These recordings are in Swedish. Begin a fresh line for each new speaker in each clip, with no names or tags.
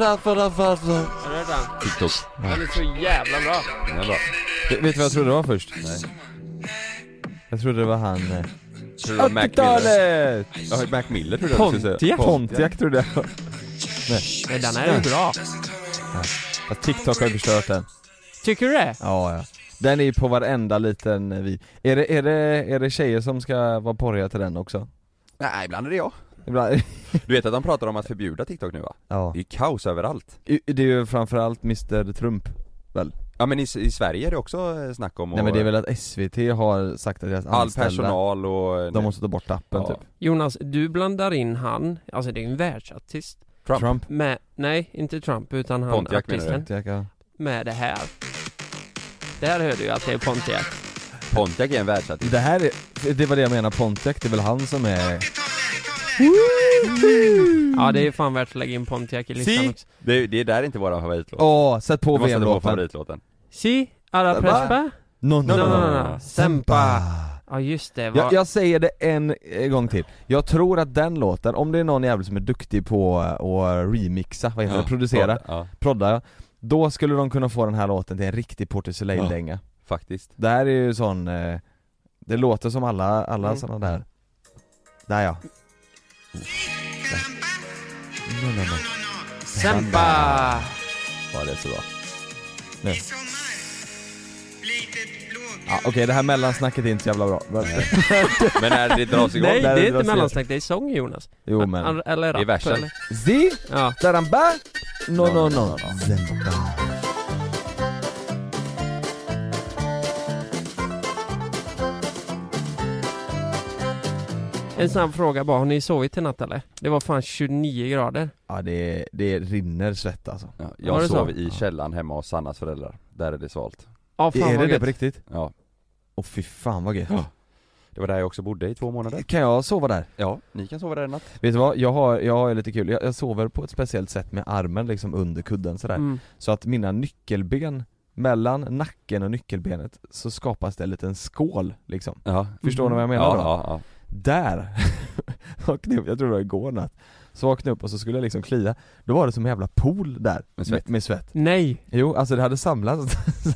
Har du hört den?
TikTok.
Den är så jävla bra.
Den är bra.
Vet du vad jag trodde det var först?
Nej.
Jag trodde det var han... eh,
Tror du det var Mac Miller?
80-talet!
Ja, Mac Miller trodde jag du skulle säga.
Pontiac? Pontiac trodde jag.
Men den här är bra.
Att TikTok har förstört den.
Tycker du det?
Ja, ja. Den är ju på varenda liten eh, vi. Är det, är det, är det tjejer som ska vara porriga till den också?
Nej, ibland är det jag.
Ibland-
Du vet att de pratar om att förbjuda TikTok nu va?
Ja.
Det är ju kaos överallt.
Det är ju framförallt Mr Trump.
Ja men i, i Sverige är det också eh, snack om
Nej men det är väl att SVT har sagt att deras
all
anställda,
personal och...
de måste ta bort appen
Ja.
typ.
Jonas, du blandar in han, alltså det är ju en världsartist.
Trump.
Med, nej, inte Trump utan han
Pontiac menar
artisten.
Pontiac, ja.
Med det här. Det här hör du ju att det är Pontiac.
Pontiac är en världsartist.
Det här är, det var det jag menar, Pontiac, det är väl han som är...
Ja, det är fan värt att lägga in Pontiac i listan
Si!
också.
Det, det är där inte våra favoritlåt.
Åh, sätt på
Vi måste sätta på
VM-låten.
favoritlåten.
Si, alla
Va?
prespa.
No, no,
No,
no,
no,
no, no.
no, no. Sempa. Ja, just det.
Jag,
Vad,
jag säger det en eh, gång till. Jag tror att den låten, om det är någon jävel som är duktig på eh, att remixa, vad heter det, producera,
Ja,
prodda, ja. då skulle de kunna få den här låten till en riktig Porter Soleil-dänga.
faktiskt.
Det här är ju sån, eh, det låter som alla, alla
Mm.
såna där. Där ja. No, no, no.
Sempa!
Ja det är så bra.
Ja, Okej, det här mellansnacket är inte så jävla bra. Men-
Men när det dras igång,
Nej, det
där det
är inte
dras ner.
mellansnack, det är sång Jonas.
Jo
An-
men.
Eller
Det är
rap.
versen.
eller?
Zi,
Ja.
daramba, no no no.
En snabb fråga bara, har ni sovit i natt eller? Det var fan 29 grader.
Ja det, det rinner svett alltså.
ja,
Var det
jag
så?
sov i källaren hemma hos Sannas föräldrar. Där är det svalt.
Ja, fan
är
vad
det det
gött.
på riktigt?
Ja.
Åh fy fan vad gött.
Det var där jag också bodde i två månader.
Kan jag sova där?
Ja, ni kan sova där i natt.
Vet du vad, jag har, jag har ju lite kul. Jag, jag sover på ett speciellt sätt med armen liksom under kudden sådär.
Mm.
Så att mina nyckelben, mellan nacken och nyckelbenet, så skapas det en liten skål liksom.
Ja.
Förstår
Mhm.
ni vad jag menar
Mm. ja,
då?
ja, ja.
Där! vaknade jag upp, jag tror det var igår natt. Så vaknade jag upp och så skulle jag liksom klia, då var det som en jävla pool där.
Med svett.
Med, med svett.
Nej,
Jo, alltså det hade samlats,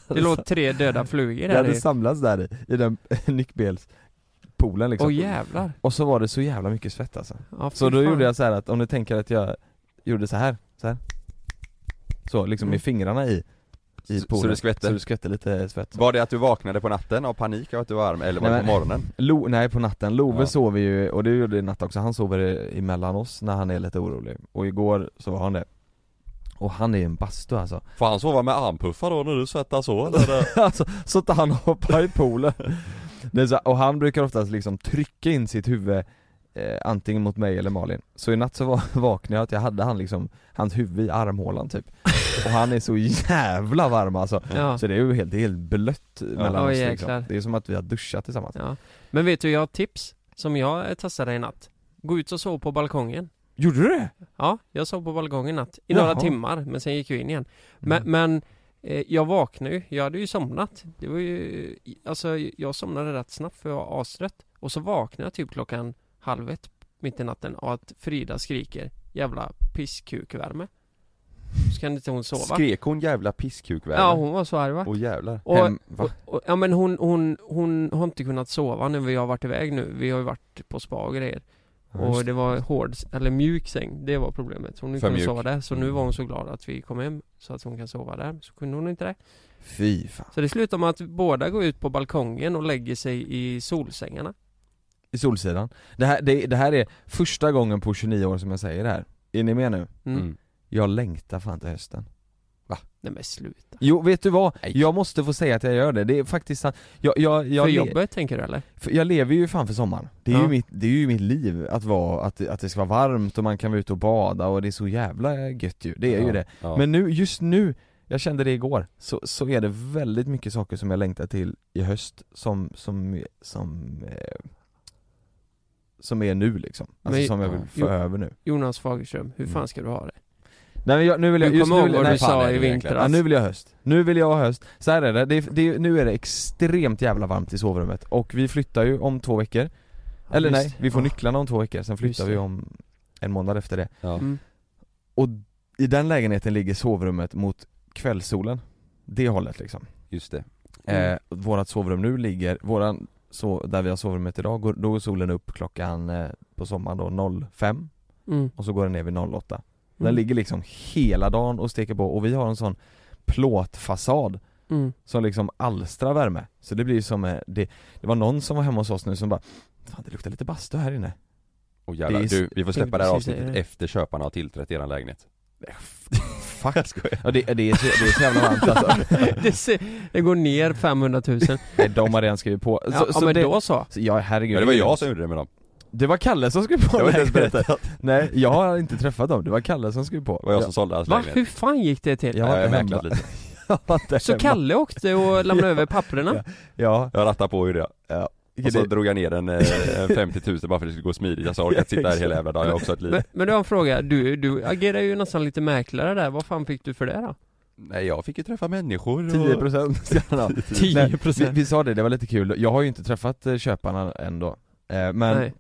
det låg tre döda flugor
det
där
hade
i.
samlats där i, i den nyckelbenspolen liksom.
Åh jävlar.
Och så var det så jävla mycket svett alltså.
Ja, fy
Så då
fan.
gjorde jag så här att om du tänker att jag gjorde så här, så här. Så liksom
Mm.
med fingrarna i, i
Så-
poolen.
så det skvätter?
Så det skvätte lite svett.
Var det att du vaknade på natten av panik av att du var arm, eller var
Nej,
det på morgonen?
Lo, nej på natten, Love
Ja.
sover ju, och det gjorde i natt också, han sover eh, emellan oss när han är lite orolig Och igår så var han det Och han är en bastu alltså
Får han sova med armpuffar då när du svettas så eller?
Alltså, så att han hoppar i poolen det är så, här- Och han brukar oftast liksom trycka in sitt huvud eh, Antingen mot mig eller Malin Så i natt så va- vaknade jag att jag hade han liksom, hans huvud i armhålan typ Och han är så jävla varm alltså
Ja.
Så det är ju helt, det är helt blött mellan
Oj,
oss liksom.
jäklar.
Det är som att vi har duschat tillsammans
Ja. Men vet du, jag har ett tips som jag eh, testade i natt. Gå ut och sov på balkongen.
Gjorde du det?
Ja, jag sov på balkongen i natt. I
Jaha. Mm.
några timmar, men sen gick vi in igen. Men, men eh, jag vaknade ju, jag hade ju somnat. Det var ju, alltså jag somnade rätt snabbt för jag var astrött. Och så vaknade jag typ klockan halv ett, mitt i natten, av att Frida skriker jävla pisskukvärme. Så kan inte hon sova.
Skrek hon jävla pisskukväder?
ja, hon var så arg va?
Åh jävlar.
Och,
Hem- va?
och, och, ja men hon, hon, hon har inte kunnat sova när vi har varit iväg nu. Vi har ju varit på spa och grejer.
Ja, just
Och det var hård, eller mjuk säng, det var problemet. Hon
För
kunde inte
mjuk.
sova där, så nu var hon så glad att vi kom hem så att hon kan sova där. Så kunde hon inte det.
Fy fan.
Så det slutar med att båda går ut på balkongen och lägger sig i solsängarna.
I Solsidan. Det här, det, det här är första gången på 29 år som jag säger det här. Är ni med nu?
Mm.
Mm.
Jag längtar fan till hösten.
Nej men sluta.
Jo, vet du vad?
Nej.
Jag måste få säga att jag gör det. Det är faktiskt sant. Jag, jag, jag,
För
le-
jobbet tänker du eller?
för jag lever ju fan för sommaren. Det är,
Ja.
ju, mitt, det är ju mitt liv att, vara, att, att det ska vara varmt och man kan vara ute och bada och det är så jävla gött ju. Det är ju det.
Ja.
Men nu, just nu, jag kände det igår, så, så är det väldigt mycket saker som jag längtar till i höst som, som, som eh, som är nu liksom, alltså
Men-
som jag vill få
Jo.
över nu
Jonas Fagerström, hur fan ska du ha det?
Nej men jag, nu vill jag,
du
just
kommer
nu,
ihåg
vill-
vad
nej,
du
fan,
sa
nej,
i
det är
vintras?
ja, nu vill jag ha höst, nu vill jag ha höst, så här är det, det, är- det är- nu är det extremt jävla varmt i sovrummet och vi flyttar ju om två veckor,
Ja,
eller
just Ah.
nej, vi får
Ja.
nycklarna om två veckor, sen
Just
flyttar
det.
vi om en månad efter det
ja.
Mm.
Och I den lägenheten ligger sovrummet mot kvällssolen, det hållet liksom
Just det.
Mm.
eh, Vårat sovrum nu ligger, våran, så, där vi har sovrummet idag, går, då går solen upp klockan eh, på sommaren då 05
Mm.
och så går den ner vid 08 Den
Mm.
ligger liksom hela dagen och steker på och vi har en sån plåtfasad
Mm.
som liksom alstrar värme. Så det blir ju som, eh, det, det var någon som var hemma hos oss nu som bara Fan det luktar lite bastu här inne.
Och jävlar,
Det är-
du, vi får släppa det här
precis det.
avsnittet efter köparna har tillträtt eran lägenhet
Fuck.
Jag skojar.
Ja, det, det, är så, det är så jävla varmt alltså.
Det, ser, det går ner 500 000
Nej, de har redan skrivit på. Så,
Ja, ja
så
men
det,
då så
så, ja herregud.
Ja, det var jag som gjorde det med dem,
Det var Kalle som skrev på
jag har inte ens
lägenheten.
berättat
Nej, jag har inte träffat dem. Det var Kalle som skrev på.
Det var jag som sålde hans
Va?
lägenhet
Hur fan gick det till?
Jag
Jag
var
har
inte
mäklat
hemma.
lite,
Jag var inte
Så
hemma.
Kalle åkte och lämnade över papperna?
Ja.
jag rattade på hur det Och så
det-
drog jag ner en, eh, en 50 000 bara för att det skulle gå smidigt, jag sa orkar inte sitta här hela jävla dagen, jag har också ett liv
Men, men du har en fråga, du, du agerar ju nästan lite mäklare där, vad fan fick du för det då?
Nej jag fick ju träffa människor och...
10% ska han ha. Nej, vi, vi sa det, det var lite kul. Jag har ju inte träffat eh, köparna ändå. Eh, Men
Nej.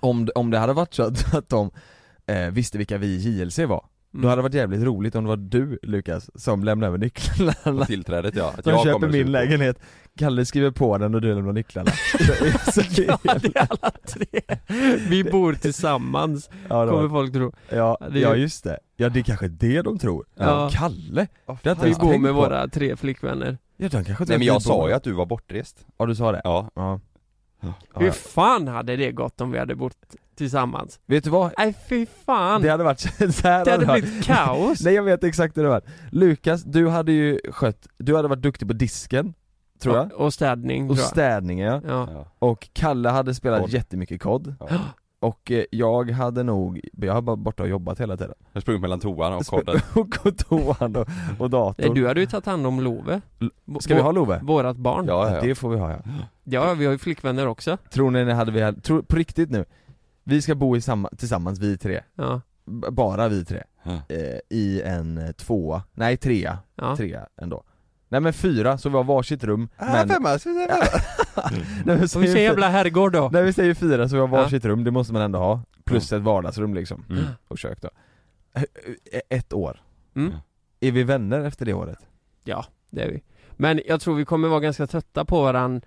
om, om det hade varit så att, att de eh, visste vilka vi i JLC var, då hade det varit jävligt roligt om det var du Lukas som lämnade över nycklarna.
På tillträdet ja, att
De
kommer
köper
och
min
skriver på.
lägenhet, Kalle skriver på den och du lämnar nycklarna. Så- så det-
Ja, det är alla tre. Vi bor tillsammans,
ja, det
kommer
var-
folk tro.
ja,
det är ju-
ja just det. Ja det är kanske det de tror.
Ja.
Kalle? Det har inte
Vi
ens
bor
tänkt
med
på.
våra tre flickvänner.
Ja, de kanske tror
Nej
att
men
vi
jag
bor-
sa ju att du var bortrest
Ja du sa det?
Ja,
Ja.
Ja.
Hur
ja.
fan hade det gått om vi hade bott tillsammans?
Vet du vad?
Nej fy fan!
Det
Det,
hade varit så här
hade
varit.
blivit kaos.
Nej jag vet exakt hur det var. Lukas, du hade ju skött, du hade varit duktig på disken, tror jag.
Och, och städning
Och
tror jag.
städningen ja.
ja.
ja,
Och Kalle hade spelat
Kod.
jättemycket kod
ja.
Och eh, jag hade nog, jag har bara borta och jobbat hela tiden
Jag sprang mellan toan och kodden
Och gått toan och, och
Nej,
datorn
du hade ju tagit hand om Love.
Ska vi ha Love?
Vårat barn. Ja.
Ja, ja, ja.
Det får vi ha ja.
vi har ju flickvänner också.
Tror ni ni hade vi, hade- tror, på riktigt nu Vi ska bo i samma, tillsammans vi tre,
Ja.
B- bara vi tre
Ja.
eh, I en eh, tvåa, nej trea,
ja.
trea ändå Nej men fyra, så vi har varsitt rum men...
femma,
Nej, men
Om
säger
vi säger
fe-
jävla herrgård då.
När vi säger fyra så vi har
Ja.
varsitt rum, det måste man ändå ha. Plus ett vardagsrum liksom,
Mm.
och kök då. Eh, eh, Ett år.
Mm.
Är vi vänner efter det året?
Det är vi. Men jag tror vi kommer vara ganska trötta på varandra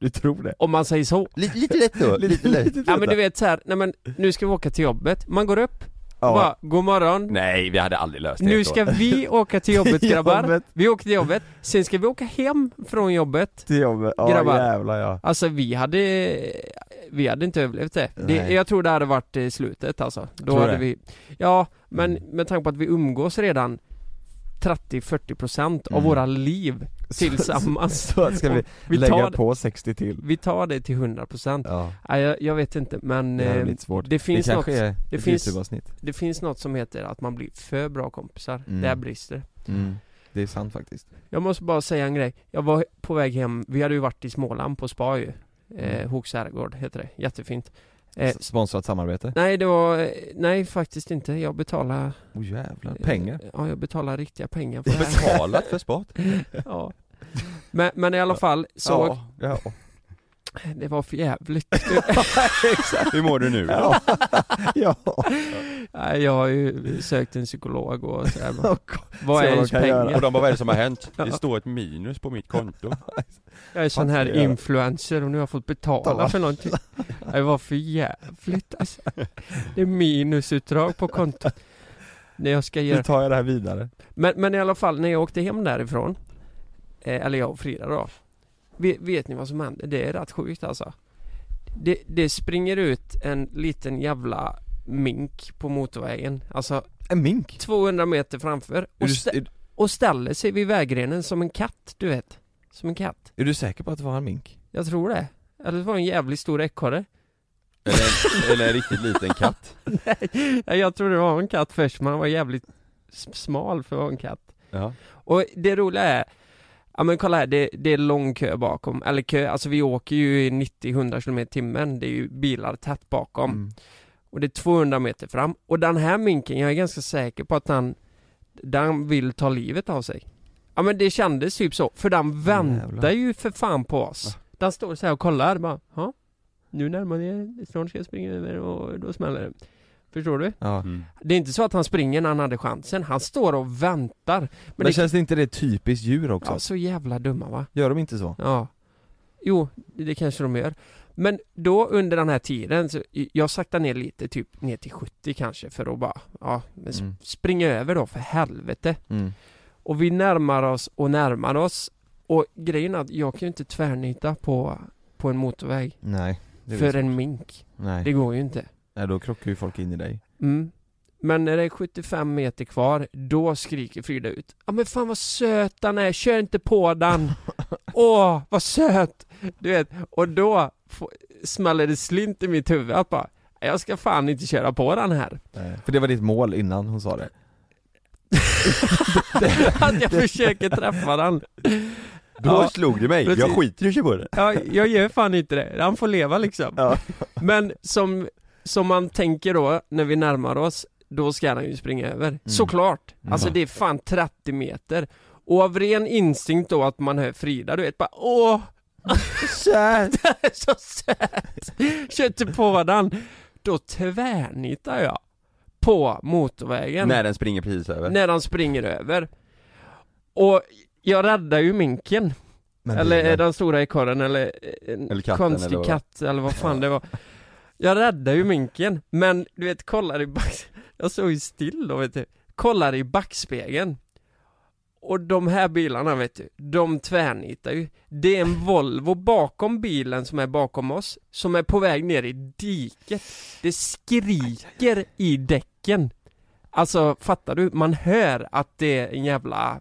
Du tror det?
om man säger så.
Lite, lite lätt då, lite lätt
Ja men du vet så här, nej men nu ska vi åka till jobbet. Man går upp,
Ja.
bara god morgon.
Nej vi hade aldrig löst det
Nu
helt
ska
då.
vi åka till jobbet grabbar.
Jobbet
Vi åker till jobbet, sen ska vi åka hem från jobbet.
till jobbet, ja
Grabbar.
jävlar ja.
Alltså vi hade, vi hade inte överlevt det. det
Nej.
jag tror det hade varit eh, slutet alltså. Då
Tror
hade
det? Mm.
vi, ja men med tanke på att vi umgås redan 30-40% av
Mm.
våra liv tillsammans.
Så ska vi,
Vi
lägga
tar,
på 60 till.
vi tar det till 100%.
Ja,
Nej, jag, jag vet inte men
det hade
eh,
blivit svårt.
det finns
det
något
kanske är
det
ett
finns-
YouTube-avsnitt.
Det finns något som heter att man blir för bra kompisar,
Mm.
där brister det.
Mm. Det är sant faktiskt.
Jag måste bara säga en grej, jag var på väg hem, vi hade ju varit i Småland på spa ju eh,
Mm.
Hooks herrgård heter det, jättefint eh,
S- Sponsrat samarbete.
Nej det var, eh, nej faktiskt inte, jag betalade
Åh Oh, jävlar.
Eh.
Pengar.
Ja jag betalade riktiga pengar för
Vi
det
har
här
betalat för spat
ja. men, men i alla fall, såg,
Ja, ja.
det var för jävligt
Exakt. Hur mår du nu?
Ja. ja.
Nej jag har ju sökt en psykolog och sådär
Och-
Vad
se
är
vad
ens
de kan göra.
pengar?
Och de bara, vad är det som har hänt?
Ja.
Det står ett minus på mitt konto
Jag är sån
Vad ska
här
jag göra?
influencer och nu har jag fått betala
Betala.
för någonting. Det var för jävligt alltså. Det är minusutdrag på kontot. När jag ska
Nu
göra.
tar jag det här vidare.
Men, men i alla fall när jag åkte hem därifrån. eh, Eller jag och Frida då. Vet, vet ni vad som hände? Det är rätt sjukt alltså. Det, det springer ut en liten jävla mink på motorvägen. Alltså
En mink?
200 meter framför.
Är
Och,
du,
stä-
är,
och ställer sig vid vägrenen som en katt, du vet. Som en katt.
är du säker på att det var en mink?
Jag tror det. Eller det var en jävligt stor ekorre.
Eller, eller en riktigt liten katt
Nej, jag tror det var en katt först, men han var jävligt s- smal för att vara en katt.
Ja,
Och det roliga är, ja men kolla här, det, det är lång kö bakom, eller kö, alltså vi åker ju i 90-100 km i timmen, det är ju bilar tätt bakom.
Mm.
Och det är 200 meter fram. Och den här minken, jag är ganska säker på att han, den vill ta livet av sig. Ja men det kändes typ så, för den väntar
Jävlar.
ju för fan på oss. Den står så här och kollar bara, ja. Nu närmar ni er, snart ska jag springa över och då smäller det. Förstår du?
Ja.
Mm.
Det är inte så att han springer när han hade chansen, han står och väntar. Men,
Men
det
känns det inte det typiskt djur också?
ja, så jävla dumma va?
Gör de inte så?
Ja. Jo, det kanske de gör. Men då under den här tiden, så jag saktade ner lite, typ ner till 70 kanske för att bara, ja, men sp-
Mm.
springa över då för helvete.
Mm.
Och vi närmar oss och närmar oss. Och grejen är att jag kan ju inte tvärnita på, på en motorväg
Nej, det
för
är
en mink.
Nej.
Det går ju inte.
Nej, då krockar ju folk in i dig.
Mm. Men när det är 75 meter kvar, då skriker Frida ut Ja men fan vad söt han är, kör inte på den! Åh, vad söt! Du vet, och då få, smäller det slint i mitt huvud att bara Jag ska fan inte köra på den här!
Eh, För det var ditt mål innan hon sa det.
att jag försöker träffa den!
Då
Ja.
slog det mig, jag
Precis.
skiter i att köra på det
Ja, jag gör fan inte det. Han får leva liksom.
Ja.
Men som, som man tänker då, när vi närmar oss, då ska han ju springa över. Såklart!
Mm.
Alltså det är fan 30 meter. Och av ren instinkt då att man hör Frida, du vet bara åh,
Kär!
det är så söt! Kör inte på den. Då tvärnitar jag på motorvägen
När den springer precis över
när han springer över. Och jag räddar ju minken.
Men
Eller
bilen.
den stora ekorren eller eh, en
Eller katten,
konstig
eller vad?
katt eller vad fan det var Jag räddade ju minken, men du vet kollar i back... Jag såg ju still då vet du Kollar i backspegeln Och de här bilarna vet du, de tvärnitar ju Det är en Volvo bakom bilen som är bakom oss Som är på väg ner i diket Det skriker i däcken Alltså fattar du? Man hör att det är en jävla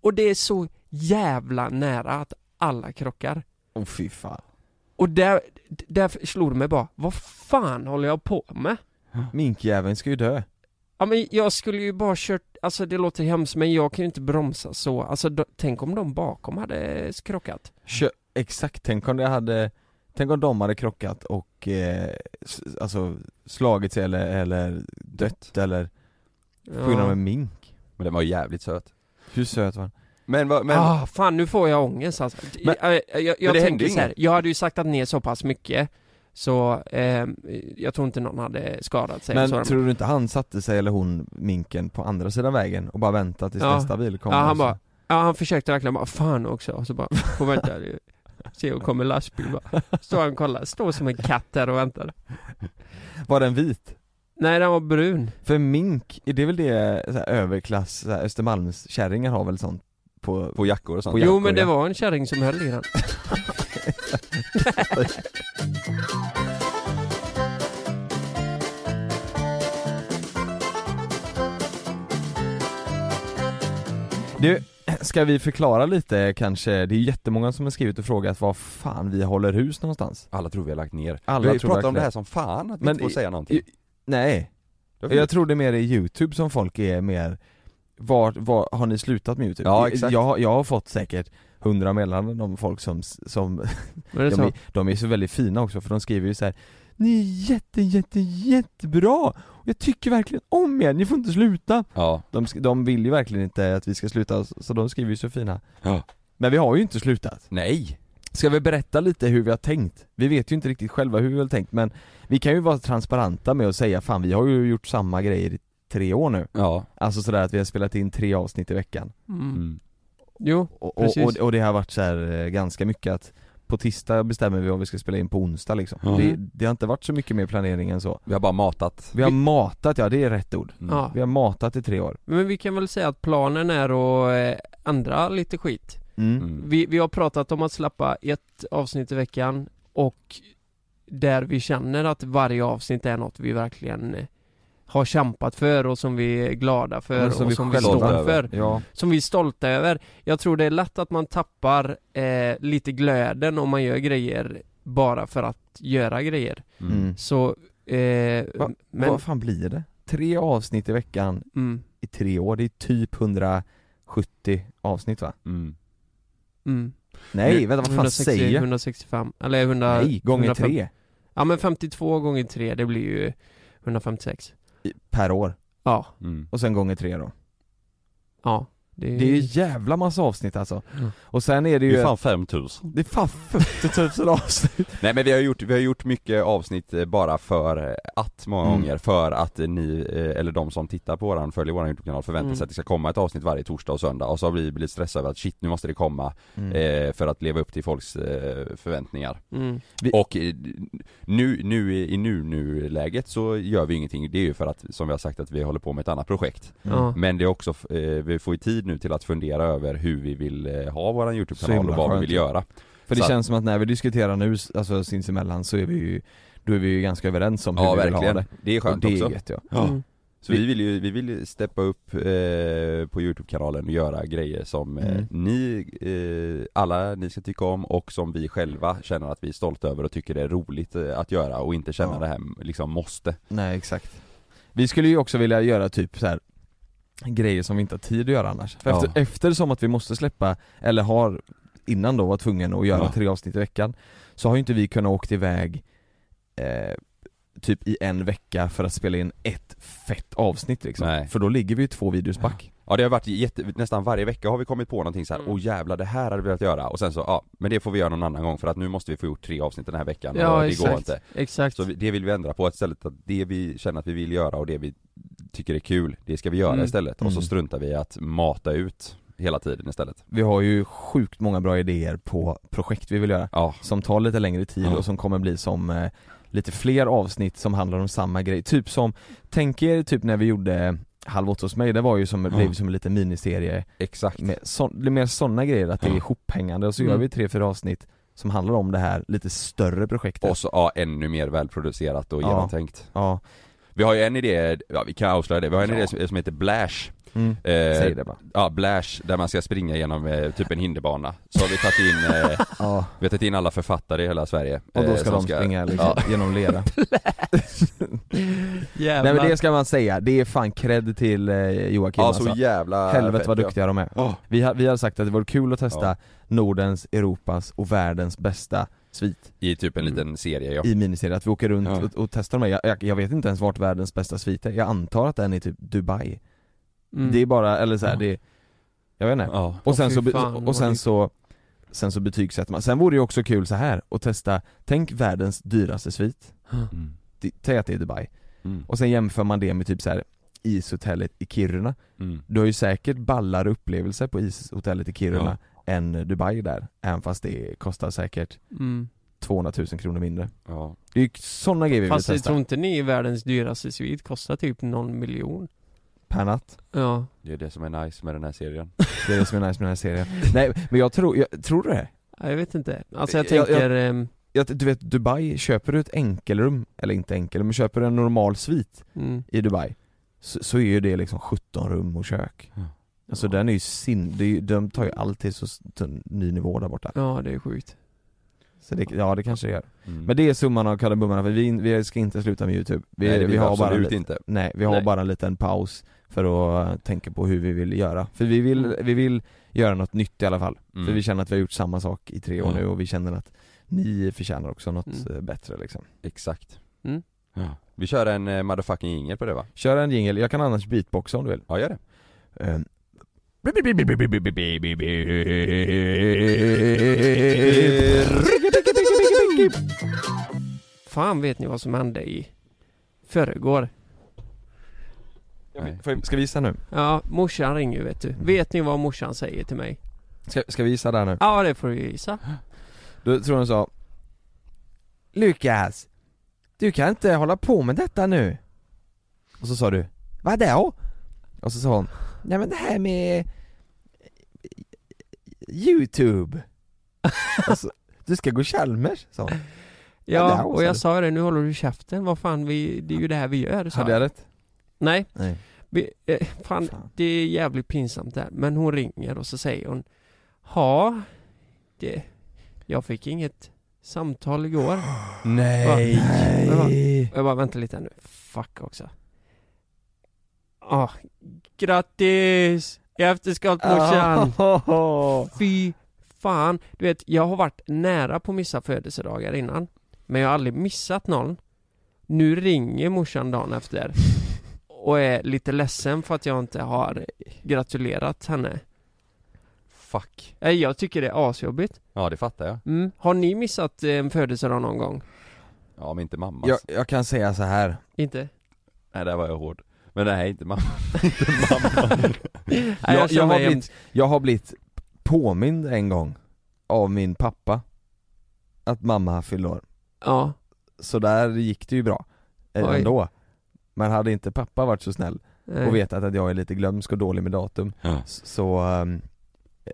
Och det är så jävla nära att alla krockar
Åh fy fan.
och där, där slog det mig bara, vad fan håller jag på med?
Minkjäveln ska ju dö.
Ja men jag skulle ju bara kört, alltså det låter hemskt men jag kan ju inte bromsa så, alltså då, tänk om de bakom hade krockat?
Kö- Exakt, tänk om det hade Tänk om de hade krockat och eh, s- alltså slagit sig eller, eller dött eller på grund av
Ja.
en mink
Men den var jävligt söt
Hur söt var den?
Men, vad- men
ah, fan nu får jag ångest alltså.
Men-
jag jag, jag,
det hände
tänker så här,
inget.
jag hade ju saktat ner så pass mycket så eh, jag tror inte någon hade skadat sig.
Men
så
tror du inte han satte sig eller hon, minken, på andra sidan vägen och bara väntade tills
Ja.
nästa bil kom?
Ja, han
och så-
bara- Ja han försökte verkligen bara, fan också, och så bara, får vänta det- Se och kommer lastbil bara. Står han och kollar, står som en katt där och väntar.
Var den vit?
Nej den var brun.
För mink, är det väl det så här, överklass, så här, Östermalmskärringar har väl sånt på,
på jackor och sånt
På
Jo
jackor,
men det
ja.
var en kärring som höll i den.
Du, ska vi förklara lite kanske, det är ju jättemånga som har skrivit och frågat var fan vi håller hus någonstans
Alla tror vi har lagt ner
Alla
Vi
tror
pratar
verkligen-
om det här som fan, att vi
Men
inte får
i-
säga någonting
i- Nej,
Det var
Jag
fint.
tror det mer är youtube som folk är mer var, var, har ni slutat med youtube?
Ja, exakt.
Jag, jag har fått säkert hundra meddelanden om folk som, som
Var det
de,
så?
är, de är så väldigt fina också för de skriver ju så här. Ni är jätte, jätte, jättebra! Och jag tycker verkligen om er, ni får inte sluta!
Ja,
De, sk- de vill ju verkligen inte att vi ska sluta, så så de skriver ju så fina
Ja.
Men vi har ju inte slutat
nej!
Ska vi berätta lite hur vi har tänkt? Vi vet ju inte riktigt själva hur vi har tänkt men vi kan ju vara transparenta med att säga fan vi har ju gjort samma grejer i tre år nu
Ja,
Alltså sådär att vi har spelat in tre avsnitt i veckan
Mm.
mm.
Jo,
Och, och,
Precis.
och, och det har varit så här eh, ganska mycket att på tisdag bestämmer vi vad vi ska spela in på onsdag liksom
Ja.
det, det har inte varit så mycket mer planering än så
vi har bara matat
Vi har matat, ja det är rätt ord
Mm.
ja.
Vi har matat i tre år
Men vi kan väl säga att planen är att eh, ändra lite skit.
mm.
Mm.
Vi, vi har pratat om att släppa ett avsnitt i veckan och där vi känner att varje avsnitt är något vi verkligen eh, har kämpat för och som vi är glada för
Men som
och
vi
som vi
själva-
står för.
Ja,
Som vi är stolta över. Jag tror det är lätt att man tappar eh, lite glöden om man gör grejer bara för att göra grejer.
Mm.
mm.
Så, eh,
Va-
men,
Vad fan blir det? Tre avsnitt i veckan
mm,
i tre år, det är typ 170 avsnitt va?
Mm.
mm.
Nej,
Nu-
vänta vad fan
160,
säger jag?
165, eller 100,
Nej, gånger
150.
tre
Ja men 52 gånger 3, det blir ju 156
i- per år
Ja,
Mm.
och sen gånger tre då
ja Det är,
Det är ju jävla massa avsnitt alltså.
Ja.
Och sen är det ju...
Mm. Det är fan 5000
det är fan 40 000 avsnitt!
Nej men vi har gjort, vi har gjort mycket avsnitt eh, bara för eh, att många
Mm.
gånger, för att eh, ni, eh, eller de som tittar på våran, följer våran YouTube-kanal förväntar
Mm.
sig att det ska komma ett avsnitt varje torsdag och söndag och så har vi blivit stressade över att shit nu måste det komma
Mm.
eh, för att leva upp till folks eh, förväntningar.
mm,
Och eh, nu, nu i i nu, nu läget så gör vi ingenting, det är ju för att, som vi har sagt att vi håller på med ett annat projekt.
Mm.
ja.
Men det är också, f- eh, vi får ju tid nu till att fundera över hur vi vill eh, ha våran
Så
YouTube-kanal
himla
och vad vi
skönt.
vill göra.
För det
Så att-
känns som att när vi diskuterar nu, alltså sinsemellan, så är vi ju, då är vi ju ganska överens om hur
Ja
vi vill ha
verkligen,
det.
det är
och
skönt
det
också.
är gött ja.
Ja.
Mm.
Så vi vill ju, vi vill ju steppa upp eh, på Youtube-kanalen och göra grejer som eh,
Mm.
ni, eh, alla ni ska tycka om och som vi själva känner att vi är stolta över och tycker det är roligt eh, att göra och inte känna
Ja.
det här liksom måste.
Nej exakt. Vi skulle ju också vilja göra typ så här grejer som vi inte har tid att göra annars. För
Ja.
efter, eftersom att vi måste släppa, eller har innan då var tvungen att göra
Ja.
tre avsnitt i veckan, så har ju inte vi kunnat åkt iväg eh, typ i en vecka för att spela in ett fett avsnitt liksom.
Nej.
För då ligger vi ju två videos back.
Ja det har varit jätte, nästan varje vecka har vi kommit på någonting så här,
Mm.
åh jävlar det här hade vi velat göra och sen så, ja men det får vi göra någon annan gång för att nu måste vi få gjort tre avsnitt den här veckan och
ja
det går
exakt,
inte.
exakt
Så vi, det vill vi ändra på istället, att det vi känner att vi vill göra och det vi tycker är kul, det ska vi göra
Mm.
istället och så
Mm.
struntar vi i att mata ut hela tiden istället.
Vi har ju sjukt många bra idéer på projekt vi vill göra.
Ja,
som tar lite längre tid
Ja.
och som kommer bli som eh, lite fler avsnitt som handlar om samma grej. Typ som, tänk er typ när vi gjorde Halv åtta hos mig, det var ju som,
Ja.
blev som en liten miniserie
exakt.
med så, det är mer sådana grejer, att det är
Ja.
ihophängande och så gör
Mm.
vi tre, fyra avsnitt som handlar om det här lite större projektet.
Och så, ja, ännu mer välproducerat och
Ja.
genomtänkt.
Ja,
Vi har ju en idé, ja, vi kan avslöja det, vi har en
Ja.
idé som, som heter Blash.
mm. säg
Eh,
det bara.
ja, Blash, där man ska springa genom eh, typ en hinderbana. Så har vi tagit in, eh,
Ja,
vi har tagit in alla författare i hela Sverige.
och då
eh,
ska
som
de springa liksom, genom lera.
Jävlar
Nej men det ska man säga, det är fan cred till eh, Joakim
Ja, så
alltså.
jävla
Helvete
fett,
vad
ja.
duktiga de är.
Ja.
Vi, har, vi har sagt att det vore kul att testa
Ja.
Nordens, Europas och världens bästa svit
I typ en liten serie ja.
Mm. i miniserie, att vi åker runt
Ja.
och, och testar de här. Jag, jag, jag vet inte ens vart världens bästa svit är, jag antar att den är typ Dubai
Mm.
Det är bara, eller så här,
Ja.
det jag vet inte
ja.
Och
Åh,
sen
fy
så, be-
fan,
och sen
vad
så Sen så betygsätter man, sen vore det ju också kul så här att testa, tänk världens dyraste svit,
Mm.
Det- säg att det är Dubai,
Mm.
och sen jämför man det med typ så här ishotellet i Kiruna
Mm.
Du har ju säkert ballare upplevelser på ishotellet i Kiruna än Dubai där, även fast det kostar säkert
mm.
200 000 kronor mindre
Ja.
Det är ju sådana grejer vi vill
Fast jag
testa,
tror inte ni är världens dyraste svit kostar typ någon miljon
per natt
Ja,
Det är det som är nice med den här serien.
Det är det som är nice med den här serien Nej men jag tror, jag, tror du det?
Ja, jag vet inte Alltså jag
Jag- jag-
tänker ehm,
Jag, du vet Dubai, köper du ett enkelrum, eller inte enkelrum, men köper du en normal svit
mm.
i Dubai så, så är ju det liksom 17 rum och kök
Ja.
Alltså den är ju sin, det är, ju- de tar ju alltid så s- till en ny nivå där borta
Ja det är sjukt
Så det, ja det kanske det gör
Mm.
Men det är summan av kardemumman för vi, vi ska inte sluta med youtube Vi,
Nej, det
vi
vill
har bara
absolut
lite,
inte.
Nej, vi har
Nej.
bara en liten paus för att eh, tänka på hur vi vill göra. För vi vill, vi vill göra något nytt i alla fall.
Mm.
För vi känner att vi har gjort samma sak i tre år
Ja.
nu och vi känner att ni förtjänar också något
Mm.
eh, bättre liksom.
Exakt.
Mm.
Ja. Vi kör en eh, motherfucking jingel på det va?
Kör en jingel, jag kan annars beatboxa om du vill.
Ja, gör det.
Eh,
Fan vet ni vad som hände i förrgår?
Nej.
får jag- Ska vi gissa nu?
Ja, morsan ringer ju vet du Vet ni vad morsan säger till mig?
Ska, ska vi gissa där nu?
Ja det får du gissa
Då tror jag hon sa Lukas, du kan inte hålla på med detta nu Och så sa du Vadå? Och så sa hon Nej men det här med eh, Youtube alltså, Du ska gå Chalmers, sa hon Ja, det
Ja,
är
och jag sa det, nu håller du käften, vad fan vi, det är ju det här vi gör sa
Hade
jag.
jag rätt?
Nej,
Nej
vi, eh, fan
Fan.
det är jävligt pinsamt där. Men hon ringer och så säger hon Ja, det, jag fick inget samtal igår.
Nej!
Men vad- Och jag bara, vänta lite här nu, fuck också. Ah, grattis! I efterskott morsan!
Åh.
Fy fan! Du vet, jag har varit nära på att missa födelsedagar innan. Men jag har aldrig missat någon. Nu ringer morsan dagen efter. och är lite ledsen för att jag inte har gratulerat henne.
Fuck.
Nej, jag tycker det är asjobbigt.
Ja det fattar jag.
Mm. Har ni missat eh, en födelsedag någon gång?
Ja men inte mammas.
Jag, jag kan säga så här.
Inte?
Nej där var jag hård. Men nej inte mamma. inte mamma.
Nej,
Jag, jag,
känner
har
mig jämt-
blivit, jag har blivit påmind en gång av min pappa att mamma fyllde år.
Ja,
Så där gick det ju bra eh,
Oj.
ändå. Men hade inte pappa varit så snäll
nej.
och vetat att jag är lite glömsk och dålig med datum
Ja.
s- så ehm,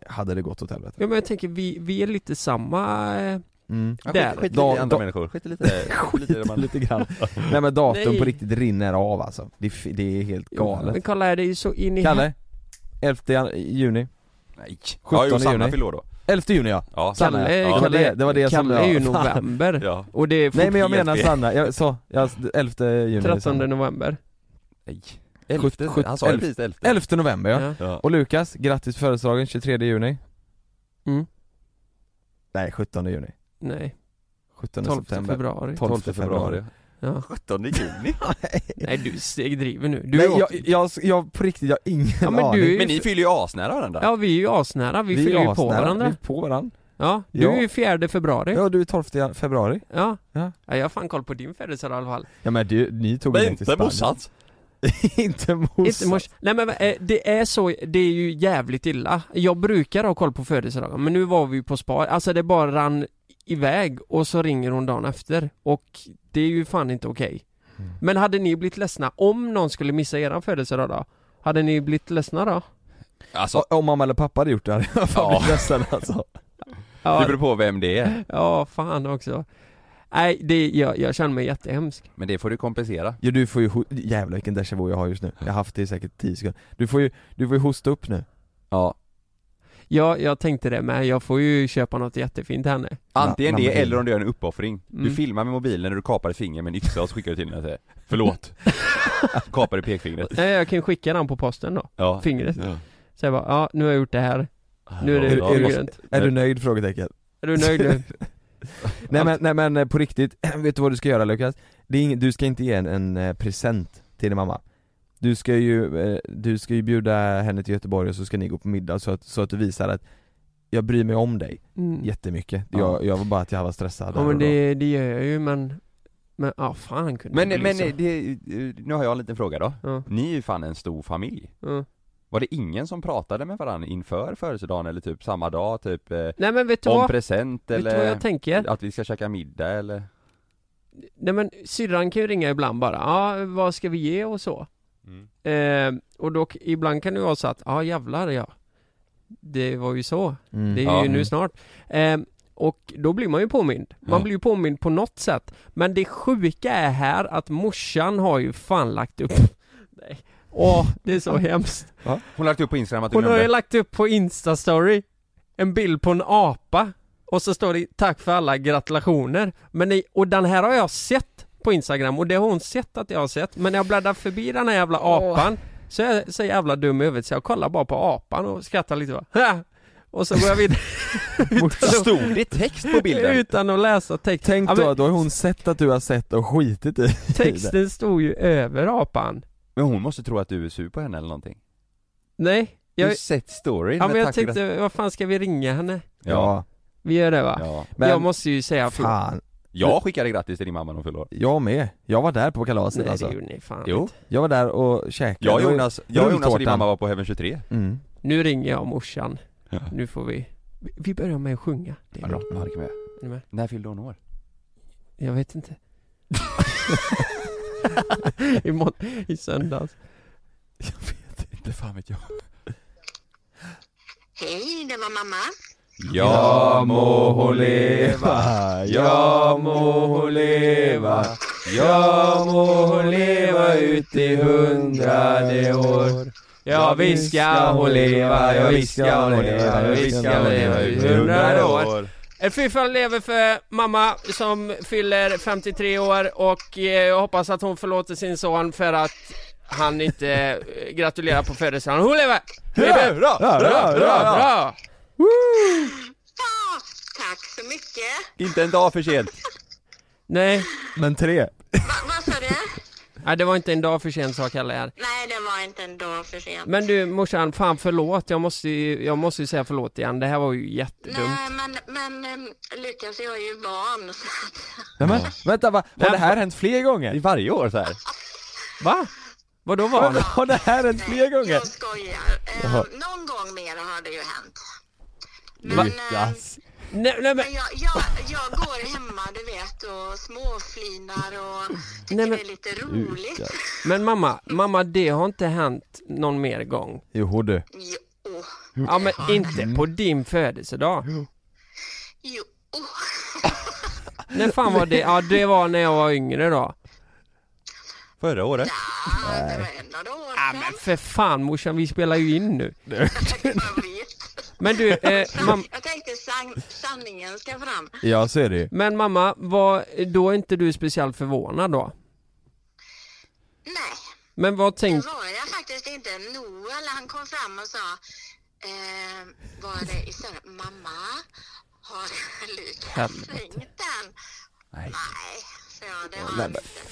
hade det gått åt helvete.
Ja men jag tänker vi, vi är lite samma eh,
Mm.
Ja,
Där.
Skit, skit lite
Da-
i andra
da-
människor. Skit i lite, skit lite i det man...
Lite grann. Nej men datum
Nej.
på riktigt rinner av alltså. Det, är f- det är helt galet.
Men kolla här, det är ju så in i
Kalle? 11 jan- juni?
Nej.
17
Ja jo Sanna
juni.
fyller år då. 11
juni ja!
Ja.
Sanna,
eh,
det
Kalle,
ja.
var
Kalle,
det- det var det som
Kalle
jag-
är ju
Fan.
november
Ja.
och det är
Nej men jag
Helt
menar
fel.
Sanna, jag sa, jag, 11 juni
13 november
Nej.
Sjut-
Elfte,
sjut-
han sa ju
elf-
precis elfte.
11 november ja.
Ja.
Ja.
Och Lukas, grattis på födelsedagen 23 juni
Mm.
Nej 17 juni
Nej,
17
12
september
februari
12 februari
ja.
17 juni.
Nej du stegdriver nu, du
Nej
är också...
jag, jag, jag på riktigt, jag har ingen
Ja, men
aning
du är ju
Men ni
f-
fyller ju asnära varandra.
Ja vi är ju asnära, vi,
är
fyller ju på
asnära. Vi
varandra
är på varandra
Ja, du
Ja.
är ju fjärde februari Ja,
Ja du är 12 jan- februari
ja.
Ja.
jag har fan koll på din födelsedag i alla fall
Ja men du, ni tog
Men
er till
inte
Spanien
morsans.
Inte
Inte
morsan
mors... Nej men eh, det är så, det är ju jävligt illa Jag brukar ha koll på födelsedagar men nu var vi ju på spa, alltså det bara rann iväg och så ringer hon dagen efter och det är ju fan inte okej
Mm.
Men hade ni blivit ledsna om någon skulle missa eran födelsedag då? Hade ni blivit ledsna då?
Alltså,
O- Om mamma eller pappa hade gjort det hade jag fan
Ja.
blivit ledsen alltså
det
Ja,
beror på vem det är.
ja fan också Nej, det, jag, jag känner mig jättehemsk
Men det får du kompensera.
Ja du får ju, ho- jävlar vilken déjà vu jag har just nu Jag har haft det i säkert 10 sekunder Du får ju, du får ju hosta upp nu
Ja.
Ja, jag tänkte det med, jag får ju köpa något jättefint till henne
Antingen
Na-
det
namn-
eller om du gör en uppoffring. Du
Mm.
filmar med mobilen när du kapar ett finger med en yxa och så skickar du till henne och säger Förlåt. kapar du pekfingret.
Nej, jag kan skicka den på posten då,
Ja.
fingret
Ja.
Så jag bara, ja nu har jag gjort det här, nu är det,
Ja,
nu är
du
det
måste-
grönt
Är du nöjd? Frågetecken
Är du nöjd nu?
Nej men, nej men eh, på riktigt, vet du vad du ska göra Lukas? Det är ing, du ska inte ge en, en eh, present till din mamma Du ska ju, eh, du ska ju bjuda henne till Göteborg och så ska ni gå på middag så att, så att du visar att jag bryr mig om dig
Mm.
jättemycket
Ja.
Jag, jag var bara att jag var stressad
Ja
här
men
och då.
det, det gör jag ju men, men ja fan kunde
Men,
det bli
men
så?
det, nu har jag en liten fråga då.
Ja,
Ni är ju fan en stor familj.
ja.
Var det ingen som pratade med varandra inför födelsedagen eller typ samma dag, typ eh,
Nej men vet du
om
vad?
present
Vet du vad
eller
jag tänker?
att vi ska käka middag eller?
Nej men syrran kan ju ringa ibland bara, ja vad ska vi ge och så? Eh, och då, ibland kan det ju vara så att, ja jävlar ja Det var ju så,
Mm.
det är
Ja.
ju nu snart eh, Och då blir man ju påmind, man
Ja.
blir ju påmind på något sätt Men det sjuka är här att morsan har ju fan lagt upp Nej, åh det är så hemskt
Hon har lagt upp på Instagram att du
Hon har ju
glömde.
lagt upp på Insta-story En bild på en apa Och så står det 'Tack för alla gratulationer' Men i, och den här har jag sett på Instagram och det har hon sett att jag har sett Men när jag bläddrar förbi den här jävla
Åh.
apan Så är jag så jävla dum i huvudet så jag kollar bara på apan och skrattar lite bara "Ha!" Och så går jag vidare
Stod det text på bilden?
utan att läsa texten
Tänk
Ja,
då,
men
då har hon sett att du har sett och skitit i
Texten stod ju över apan
Men hon måste tro att du är sur på henne eller någonting.
Nej,
Jag... Du
jag,
har sett storyn
ja, men
med
jag
tack-
tänkte, vad fan ska vi ringa henne?
Ja,
Ja,
Vi gör det va?
ja.
men
jag måste ju säga förlåt
fan,
Jag skickade grattis till din mamma när hon fyllde år.
jag med. Jag var där på kalaset
Nej det
alltså
gjorde ni fan
Jo.
Jag var där och käkade
Jag och
Det var ju-
Jonas, jag och Jonas och din
rulltårtan.
mamma var på Heaven 23.
mm.
Nu ringer jag morsan.
Ja.
Nu får vi... vi- Vi börjar med att sjunga. Det är bra.
Ja, det kan vi göra.
Är ni med?
När fyllde hon år?
Jag vet inte.
Mm.
I, mån- I söndags.
Inte fan vet jag.
Hej, det var mamma.
Ja må hon leva, ja må hon leva, ja må hon leva ut i hundrade år.
Ja visst ska hon leva, ja visst ska hon leva, ja visst ska hon leva ut i hundrade år. Eh, Fy fan lever för mamma som fyller 53 år och eh, jag hoppas att hon förlåter sin son för att han inte eh, gratulerar på födelsedagen. Hon lever! Lever!
Hurra, hurra, hurra, hurra!
Bra!
Ja, tack så mycket.
Inte en dag för sent.
Nej,
Men tre
Va, vad sa du?
Nej det var inte en dag för sent sa Kalle här.
Nej, det var inte en dag för sent.
Men du morsan, fan förlåt. Jag måste ju, jag måste ju säga förlåt igen. Det här var ju jättedumt.
Nej, men, men um, Lukas, jag är ju barn. Så att,
Nej, men, vänta, va, har
Nej,
det här hänt fler
I
gånger?
varje år så här.
Va? Vadå var det?
Har det här hänt fler gånger?
Jag skojar. Eh, någon gång mer har det ju hänt. Men, eh,
Lukas.
Nej, nej men,
men jag, jag, jag går hemma, du vet, och småflinar och tycker
Nej, men-
det är lite roligt.
men mamma, mamma det har inte hänt någon mer gång.
Jo du.
Jo,
Ja men inte på din födelsedag.
jo.
När fan var det? Ja det var när jag var yngre då.
Förra året.
Ah, det var en av de år
Ja
sedan.
men för fan morsan, vi spelar ju in nu.
Jag vet.
Men du, eh, mam-
Jag tänkte san- sanningen ska fram.
Ja så är det ju.
men mamma, var då inte du speciellt förvånad då?
Nej,
Men vad
det
tänkte,
var jag faktiskt inte. Noel han kom fram och sa, eh, var det i söndag? Mamma, har Lukas
Helvete.
ringt den?
Nej.
Nej, så jag. Det har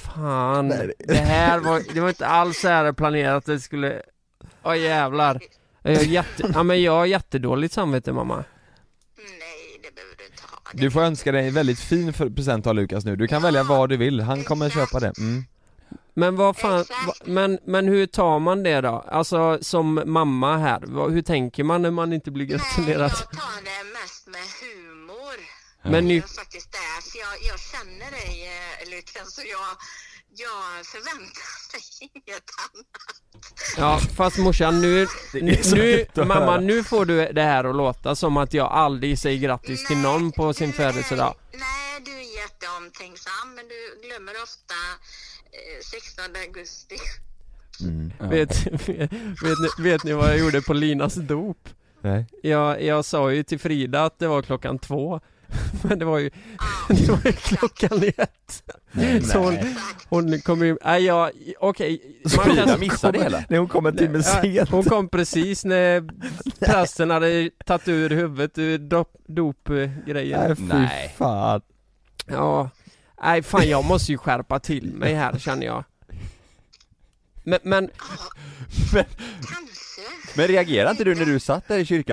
han inte.
fan, det här var, det var inte alls så här planerat att det skulle, åh jävlar. Jag är jätte, ja men jag har jättedåligt samvete mamma.
Nej, det behöver du inte ha. Det-
Du får önska dig en väldigt fin för- present av Lukas nu. Du kan välja vad du vill. Han kommer köpa det. Mm.
Men vad fan,
Exakt.
va, men, men hur tar man det då? Alltså som mamma här, vad, hur tänker man när man inte blir
Nej, jag
gratulerad?
tar det mest med humor.
Men
Det
ni,
är faktiskt därför jag, jag känner dig eh, Lukas och jag, jag förväntar mig inget annat.
ja fast morsan nu,
så
nu,
lätt att
mamma
höra.
nu får du det här att låta som att jag aldrig säger grattis till någon på sin
du är-
födelsedag.
Nej, du är jätteomtänksam men du glömmer ofta eh, 16 augusti.
Mm.
Vet, vet, ni, vet ni vad jag gjorde på Linas dop?
Nej.
Jag, jag sa ju till Frida att det var klockan två Men det var ju, det var ju klockan ett Så hon, hon kom ju, nej jag, okej man kan-
Frida missade hela.
Nej hon kommer en timme
Ja,
sent.
Hon kom precis när prästen hade tagit ur huvudet ur dop- dopgrejen
Nej fy fan.
Ja, nej fan jag måste ju skärpa till mig här känner jag Men, men
Kanske.
Men reagerade inte du när du satt där i kyrkan?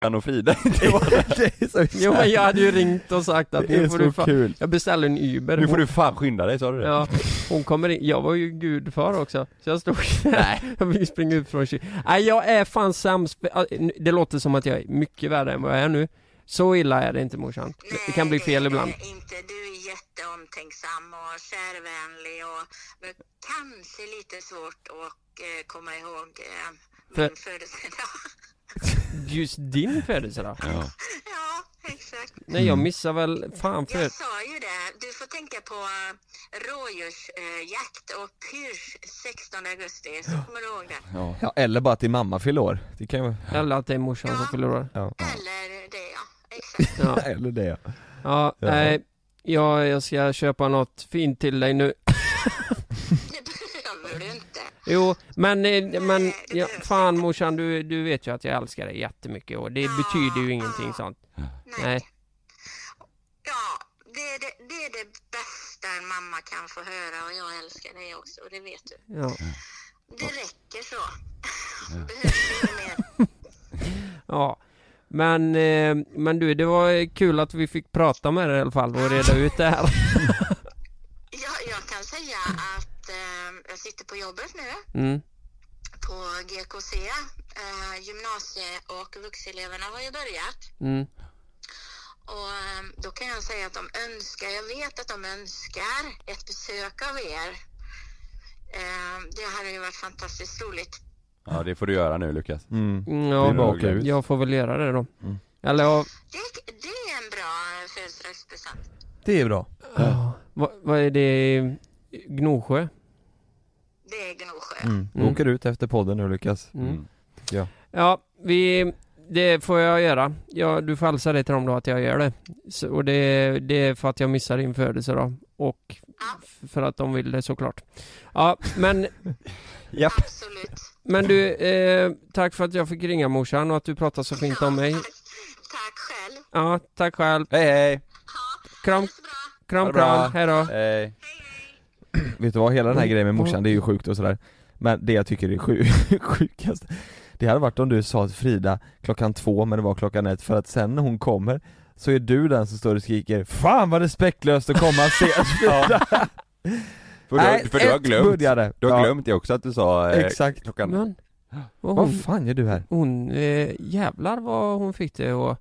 Han och Frida inte var
Det är så
Jo men jag hade ju ringt och sagt att
Det är
nu får du
så
fan,
kul.
jag beställer en Uber
Nu får du fan skynda dig, sa du det?
Ja, hon kommer in, jag var ju gudfar också, så jag stod Nej. jag fick springa ut från kyr. Nej jag är fan sämst, det låter som att jag är mycket värre än vad jag är nu Så illa är det inte morsan, det kan bli
Nej,
fel
det är
ibland
Inte. Du är jätteomtänksam och kärvänlig och men kanske lite svårt att eh, komma ihåg eh, min
För-
födelsedag.
Just din födelsedag?
ja, exakt.
Nej jag missar väl, fan för
Jag sa ju det, du får tänka på eh, rådjursjakt och pyrs 16 augusti, så kommer du ihåg det.
Ja, eller bara till mamma fyller år. Det kan ju
Eller att det är morsan som förlorar
ja.
Eller det ja, exakt.
Ja,
Eller det ja.
ja nej Ja, jag ska köpa något fint till dig nu.
Det behöver du inte.
Jo, men, eh, men,
Nej, det
ja,
behövs
fan morsan, du, du vet ju att jag älskar dig jättemycket och det betyder ju ingenting sånt.
Nej.
Nej.
Ja, det är det, det är det bästa en mamma kan få höra och jag älskar dig också och det vet du.
Ja.
Det räcker så. Behöver du mer?
ja. Men, eh, men du, det var kul att vi fick prata med dig i alla fall och reda ut det här.
Ja, jag kan säga att eh, jag sitter på jobbet nu
Mm.
på GKC. Eh, gymnasie och vuxeleverna har ju börjat.
Mm.
Och eh, då kan jag säga att de önskar, jag vet att de önskar ett besök av er. Eh, det hade ju varit fantastiskt roligt.
Ja, det får du göra nu Lukas.
Mm,
Det är
Ja,
bara att åka ut. Mm.
jag får väl göra det då. Eller ja,
Det, det är en bra födelsedagspresent.
Det är bra.
Ja. Vad vad är det? Gnosjö?
Det är Gnosjö.
Mm.
Mm.
Åker ut efter podden nu Lukas.
Mm.
Mm.
Ja, vi, det får jag göra. Ja, du får hälsa det till dem då att jag gör det. Så, och det, det är för att jag missar din födelsedag. Och f- för att de vill det såklart. Ja, men,
Japp.
Absolut.
men du, eh, tack för att jag fick ringa morsan och att du pratade så fint om mig.
Tack själv.
Ja, tack själv.
Hej hej!
Kram,
Så bra.
kram,
Ha det bra.
kram. Hej då.
Hej.
Vet du vad, hela den här grejen med morsan, det är ju sjukt och sådär Men det jag tycker är sju, sjukast Det hade varit om du sa till Frida klockan två men det var klockan ett för att sen när hon kommer Så är du den som står och skriker 'Fan vad respektlöst att komma sent Frida'
För, du, för du har
ett
glömt,
började.
du har
Ja,
glömt det också att du sa eh,
Exakt,
klockan...
Men, och hon,
vad fan gör du här?
hon eh, jävlar vad hon fick det och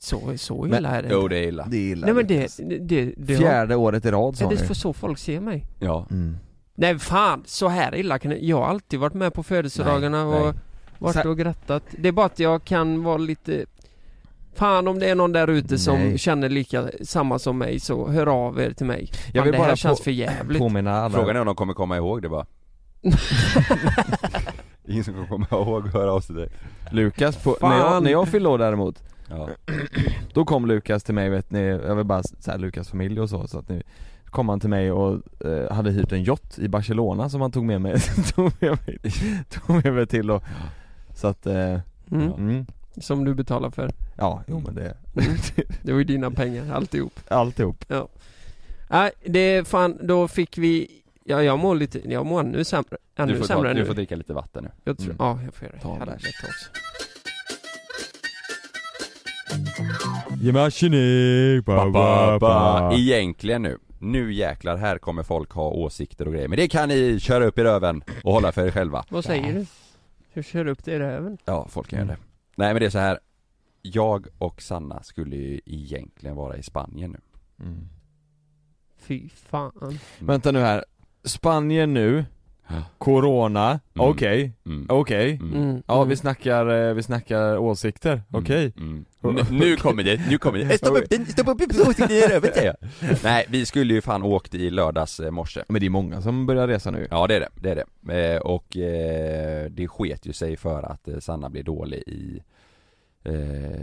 så, så
Men-
illa är det.
Jo det är illa.
Det är illa
Nej men det, det, det, det har,
Fjärde året i rad sa
är
ni
det för så folk ser mig?
Ja.
mm.
Nej fan, så här illa kan det, jag har alltid varit med på födelsedagarna
Nej,
och
nej.
varit
Så-
och grattat. Det är bara att jag kan vara lite Fan om det är någon där ute som
Nej.
känner lika, samma som mig så hör av er till mig.
Jag
Fan,
vill
det
bara
här känns
på-
för jävligt.
Påminna alla
Frågan är om de kommer komma ihåg det bara. Ingen som kommer komma ihåg att höra av sig till dig.
Lukas, på,
Fan.
när, jag, när jag fyllde år däremot
Ja.
Då kom Lukas till mig vet ni, jag vill bara så här, Lukas familj och så, så att nu kom han till mig och eh, hade hyrt en yacht i Barcelona som han tog med mig, tog med mig, tog med mig till och så att, eh,
Mm,
mm,
Som du betalar för.
ja jo men det,
Det var ju dina pengar, alltihop.
alltihop
Nej, det är fan, då fick vi Ja, jag mår lite, jag mår ännu sämre, ännu
Du får, ta,
sämre
du
nu.
får dricka lite vatten nu.
Jag tror,
Mm.
ja jag får göra det.
Ta
Helvete
det.
också.
Ge mig arsenik, ba, ba, ba.
Egentligen nu. Nu jäklar, här kommer folk ha åsikter och grejer. Men det kan ni köra upp i röven och hålla för er själva.
Vad säger du? Hur kör du upp det i röven?
Ja, folk kan göra det. Nej men det är så här. Jag och Sanna skulle ju egentligen vara i Spanien nu.
Mm.
Fy fan.
Vänta nu här, Spanien nu, Corona,
Mm.
okej,
Mm.
okej
Mm.
Mm,
Ja
mm.
vi snackar, eh, vi snackar åsikter, okej
Mm. Mm. Nu, nu kommer det, nu kommer det. Stoppa upp den, stoppa upp den, säger jag. Nej, vi skulle ju fan åkt i lördags eh, morse.
Men det är många som börjar resa nu
Ja det är det, det är det. Eh, och eh, det sket ju sig för att eh, Sanna blev dålig i eh,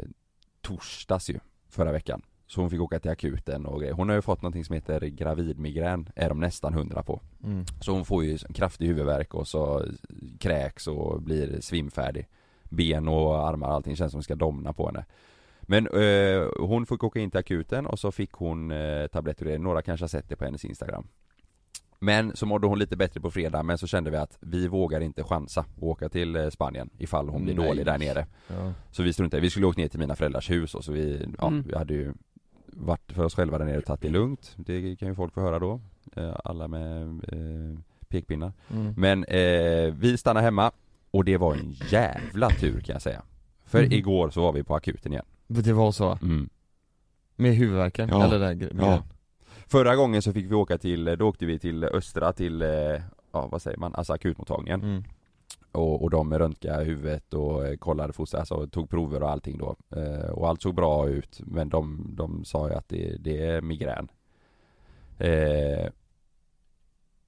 torsdags ju, förra veckan. Så hon fick åka till akuten och grejer. Hon har ju fått någonting som heter gravidmigrän, är de nästan hundra på.
mm.
Så hon får ju kraftig huvudvärk och så kräks och blir svimfärdig Ben och armar och allting känns som ska domna på henne Men eh, hon fick åka in till akuten och så fick hon eh, tabletter, några kanske har sett det på hennes instagram Men så mådde hon lite bättre på fredag men så kände vi att vi vågar inte chansa och åka till eh, Spanien ifall hon blir
Nej.
dålig där nere
ja.
Så vi struntade vi skulle åkt ner till mina föräldrars hus och så vi, ja,
Mm.
vi hade ju varit för oss själva där nere och tagit det lugnt Det kan ju folk få höra då, eh, alla med eh, pekpinnar
Mm.
men eh, vi stannar hemma och det var en jävla tur kan jag säga. För
Mhm.
igår så var vi på akuten igen. Mm.
Det var så? Med huvudvärken?
Ja.
Eller den grejen?
Ja. Förra gången så fick vi åka till, då åkte vi till Östra till, eh, ja vad säger man, alltså akutmottagningen.
Mm.
Och, och de röntgade huvudet och eh, kollade foster, alltså tog prover och allting då. Eh, och allt såg bra ut men de, de sa ju att det, det är migrän. Eh,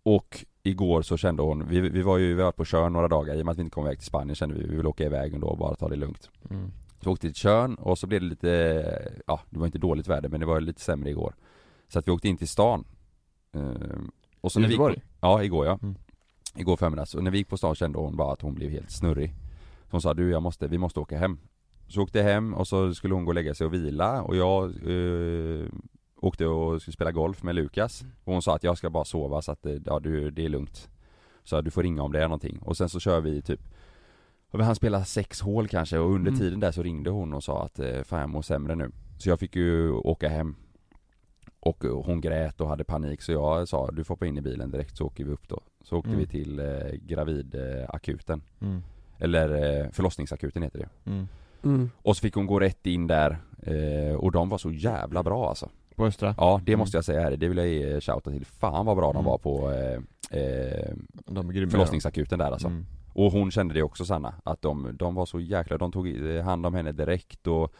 och igår så kände hon, vi, vi var ju vi var på Tjörn några dagar, i och med att vi inte kom iväg till Spanien kände vi vi vill åka iväg ändå och bara ta det lugnt.
Mm.
Så åkte vi till Tjörn och så blev det lite, ja det var inte dåligt väder men det var lite sämre igår. Så att vi åkte in till stan. Ehm, och så när vi gick på,
Göteborg?
Ja, igår ja.
Mm.
Igår förmiddags. Och när vi gick på stan kände hon bara att hon blev helt snurrig. Så hon sa du jag måste, vi måste åka hem. Så åkte jag hem och så skulle hon gå och lägga sig och vila och jag eh, åkte och skulle spela golf med Lukas. Och hon sa att jag ska bara sova så att eh, ja, du, det är lugnt. Så du får ringa om det är någonting. Och sen så kör vi typ och han spelade sex hål kanske och under
Mm.
tiden där så ringde hon och sa att eh, fan jag mår sämre nu. Så jag fick ju åka hem. Och eh, hon grät och hade panik så jag sa du får hoppa in i bilen direkt så åker vi upp då. Så åkte
Mm.
vi till eh, gravidakuten.
Mm.
Eller eh, förlossningsakuten heter det.
Mm.
Mm.
Och så fick hon gå rätt in där eh, och de var så jävla bra alltså.
På Östra?
Ja det
Mm.
måste jag säga här, det vill jag ge shoutout till. Fan vad bra de
Mm.
var på eh, eh,
De är grymma
förlossningsakuten där alltså.
Mm.
eh, Och hon kände det också Sanna, att de, de var så jäkla, de tog i- hand om henne direkt och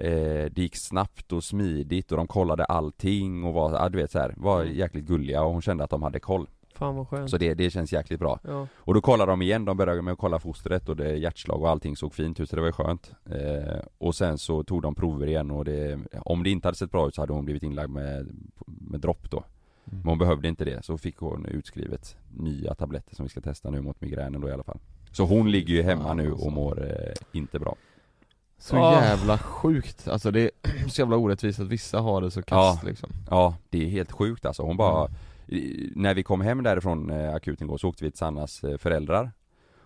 Eh, det gick snabbt och smidigt och de kollade allting och var, ja, du vet så här, var
Mm.
jäkligt gulliga och hon kände att de hade koll.
Fan vad skönt.
Så Mm. det, det känns jäkligt bra.
Ja.
Och då kollade de igen, de började med att kolla fostret och det hjärtslag och allting såg fint ut så det var ju skönt. Eh, och sen så tog de prover igen och det, om det inte hade sett bra ut så hade hon blivit inlagd med, med dropp då.
Mm.
Men hon behövde inte det, så fick hon utskrivet nya tabletter som vi ska testa nu mot migränen då i alla fall. Så hon ligger ju hemma
Fan,
nu
alltså.
och mår eh, inte bra.
Så
Ah.
jävla sjukt, alltså det är så jävla orättvist att vissa har det så kast liksom
Ja, det är helt sjukt alltså. Hon bara, i- när vi kom hem därifrån eh, akuten igår så åkte vi till Sannas eh, föräldrar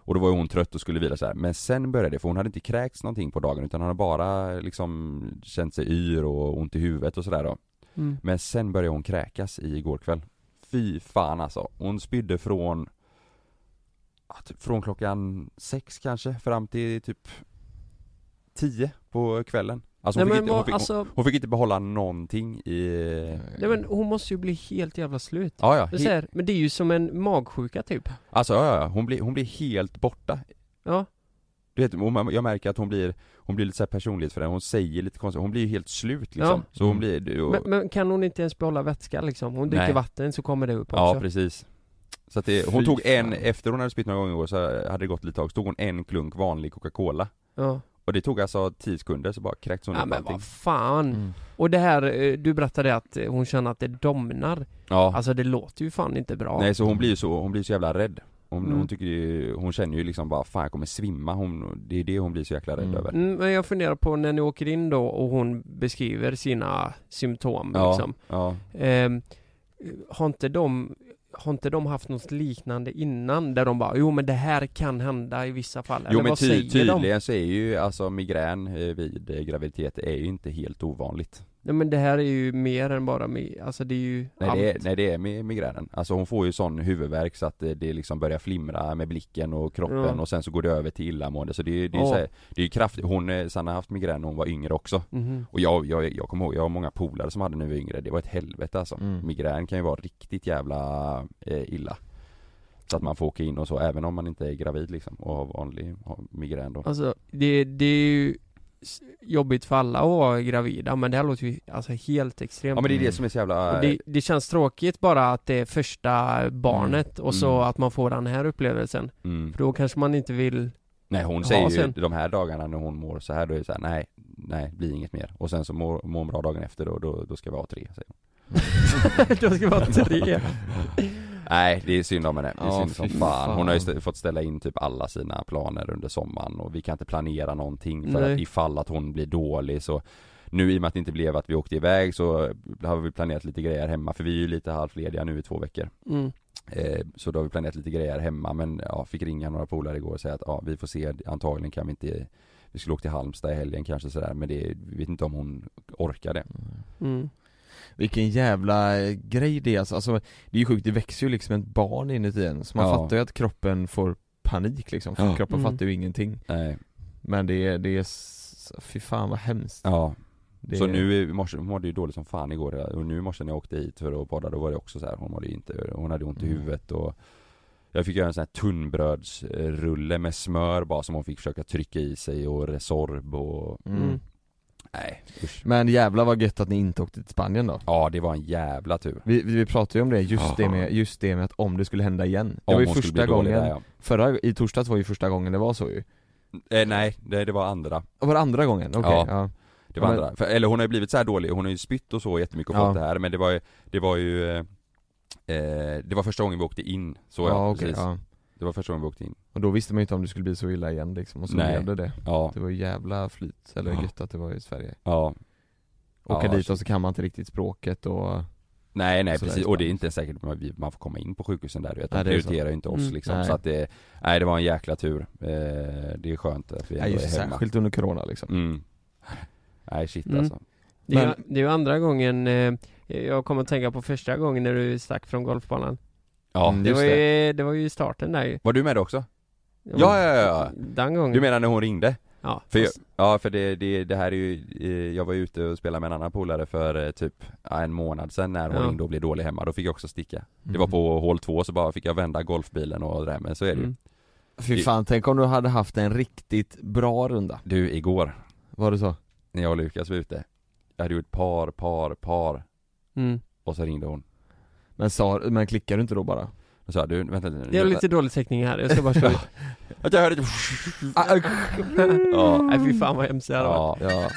och då var ju hon trött och skulle vila så här. men sen började det, för hon hade inte kräkts någonting på dagen utan hon hade bara liksom känt sig yr och ont i huvudet och sådär då.
Mm.
Men sen började hon kräkas i igår kväll. Fy fan alltså. Hon spydde från ja, typ från klockan sex kanske fram till typ tio på kvällen. Alltså
Nej
hon, fick
men
inte, hon,
vad,
fick, hon,
alltså,
hon fick inte behålla någonting i...
nej men hon måste ju bli helt jävla slut.
Ja, ja.
Det är
he-
så här, men det är ju som en magsjuka typ.
Alltså ja, ja, ja. Hon, blir, hon blir helt borta
Ja.
Du vet, hon- jag märker att hon blir, hon blir lite så här personlighetsförändrad, hon säger lite konstigt, hon blir ju helt slut liksom
Ja.
Så hon blir, du- och,
Men, men kan hon inte ens behålla vätska liksom? Hon dricker
Nej.
vatten så kommer det upp också.
ja precis Så att det, hon
Fy
tog en,
fan.
efter hon hade spytt några gånger igår så hade det gått lite tag, så tog hon en klunk vanlig Coca-Cola
Ja.
Och det tog alltså 10 sekunder så bara kräktes hon
ja
upp
men
allting
vad fan.
Mm.
Och det här, eh, du berättade att eh, hon känner att det domnar.
Ja,
Alltså det låter ju fan inte bra.
nej så hon blir ju så, hon blir så jävla rädd hon,
Mm.
hon tycker ju, hon känner ju liksom bara fan jag kommer svimma, hon, det är det hon blir så jäkla rädd
Mm.
över
Mm, men jag funderar på när ni åker in då och hon beskriver sina symptom
Ja,
liksom.
ja
Ehm, har, inte de, har inte de haft något liknande innan? Där de bara, jo men det här kan hända i vissa fall.
Jo
Eller
men
vad
ty-
säger de?
tydligen så är ju alltså migrän eh, vid eh, graviditet är ju inte helt ovanligt
Nej men det här är ju mer än bara, mi- alltså det är ju
Nej
allt.
det, är, nej det är mi- migränen, alltså hon får ju sån huvudvärk så att det, det liksom börjar flimra med blicken och kroppen
Ja.
och sen så går det över till illamående så det, är- det är
Ja.
så här, det är ju kraftigt, hon, eh, Sanna har haft migrän när hon var yngre också
Mhm.
och jag, jag, jag kommer ihåg, jag har många polare som hade när vi var yngre, det var ett helvete alltså
Mm.
Migrän kan ju vara riktigt jävla eh, illa Så att man får åka in och så, även om man inte är gravid liksom och har vanlig har migrän då
Alltså det, det är ju s- jobbigt för alla att vara gravida men det här låter ju alltså helt extremt.
Ja men det är det som är så jävla eh,
Och det, det känns tråkigt bara att det är första barnet och så
Mm.
att man får den här upplevelsen.
mm.
För då kanske man inte vill,
Nej hon
Ja,
säger
sen-
ju de här dagarna när hon mår så här då är det så här, nej, nej, blir inget mer. Och sen så mår, mår hon bra dagen efter då, då, då ska vi ha tre säger hon. Mm.
då ska vara tre.
Nej det är synd om henne, det är
Ja,
synd som
fy
fan. Hon har ju
fan.
st- fått ställa in typ alla sina planer under sommaren och vi kan inte planera någonting för
Nej.
att ifall att hon blir dålig så nu i och med att det inte blev att vi åkte iväg så har vi planerat lite grejer hemma för vi är ju lite halvlediga nu i två veckor.
Mm.
Eh, Så då har vi planerat lite grejer hemma men ja, fick ringa några polare igår och säga att ja, vi får se, antagligen kan vi inte Vi skulle åka till Halmstad i helgen kanske sådär men det, vi vet inte om hon orkar det
Mm.
Vilken jävla eh, grej det är alltså, alltså det är ju sjukt, det växer ju liksom ett barn inuti en så man
Ja.
fattar ju att kroppen får panik liksom, för
Ja.
kroppen
Mm.
fattar ju ingenting
Nej,
Men det är, det är, s- fy fan vad hemskt
ja.
det
Så
är,
nu i morse, hon mådde ju dåligt som fan igår och nu i morse när jag åkte hit för att bada då var det också så här, hon mådde ju inte, hon hade ont i
Mm.
huvudet och Jag fick göra en sån här tunnbrödsrulle med smör bara som hon fick försöka trycka i sig och Resorb och
mm.
Nej usch.
Men jävla vad gött att ni inte åkte till Spanien då
Ja det var en jävla tur
Vi, vi vi pratade ju om det, just
Ja.
det, med, just det med att om det skulle hända igen Det
Om
var ju
hon skulle
första
bli dålig
gången,
där, ja.
förra, i torsdags var ju första gången det var så ju
eh, Nej, det, det var andra
Och Var det andra gången? Okej,
Ja.
ja.
Det var
Ja, men-
andra, för, eller hon har ju blivit så här dålig, hon har ju spytt och så jättemycket och
Ja.
fått det här men det var ju, det var ju eh, eh, Det var första gången vi åkte in, så ja,
ja, okej,
precis.
ja.
Det var första gången vi åkte in
Och då visste man ju inte om det skulle bli så illa igen liksom, och så
Nej.
blev det det
Ja,
Det var ju jävla flyt, eller
Ja.
gött att det var i Sverige
ja
Åka
Ja,
dit
så-
och så kan man inte riktigt språket och
Nej nej
Så
precis,
där
och det är inte säkert att man- vi- man får komma in på sjukhusen där du vet, de
Nej, det är så.
prioriterar ju inte oss
Mm.
liksom
Nej.
så att det, nej det var en jäkla tur eh, Det är skönt att vi
ja,
ändå
just,
är hemma
särskilt under corona liksom
mm. Nej shit
Mm.
alltså
Det, är, ju- det är ju andra gången, eh, jag kommer att tänka på första gången när du stack från golfbanan.
Ja,
Mm,
Det
just
var,
det.
ju, det var ju starten där ju.
Var du med då också?
Det var-
Ja ja ja, ja.
Den gången.
Du menar när hon ringde?
Ja.
För jag,
fast-
ja för det, det, det här är ju, eh, jag var ju ute och spelade med en annan polare för eh, typ ja, Mhm. en månad sedan när hon
Ja.
ringde och blev dålig hemma, då fick jag också sticka Det var på hål två så bara fick jag vända golfbilen och det där, men så är det ju
Mm.
Fy fan, tänk om du hade haft en riktigt bra runda
Du, igår,
Var det så?
när jag och Lukas var ute Jag hade gjort par, par, par
Mm.
och så ringde hon
Men, sa, men klickar du inte då bara?
Då sa jag, du vänta lite nu
Det är lite dålig täckning här, jag ska bara köra
Att jag hörde typ ett
Ah,
Ja,
Nej fy fan vad hemskt det hade varit
ja,
Ja.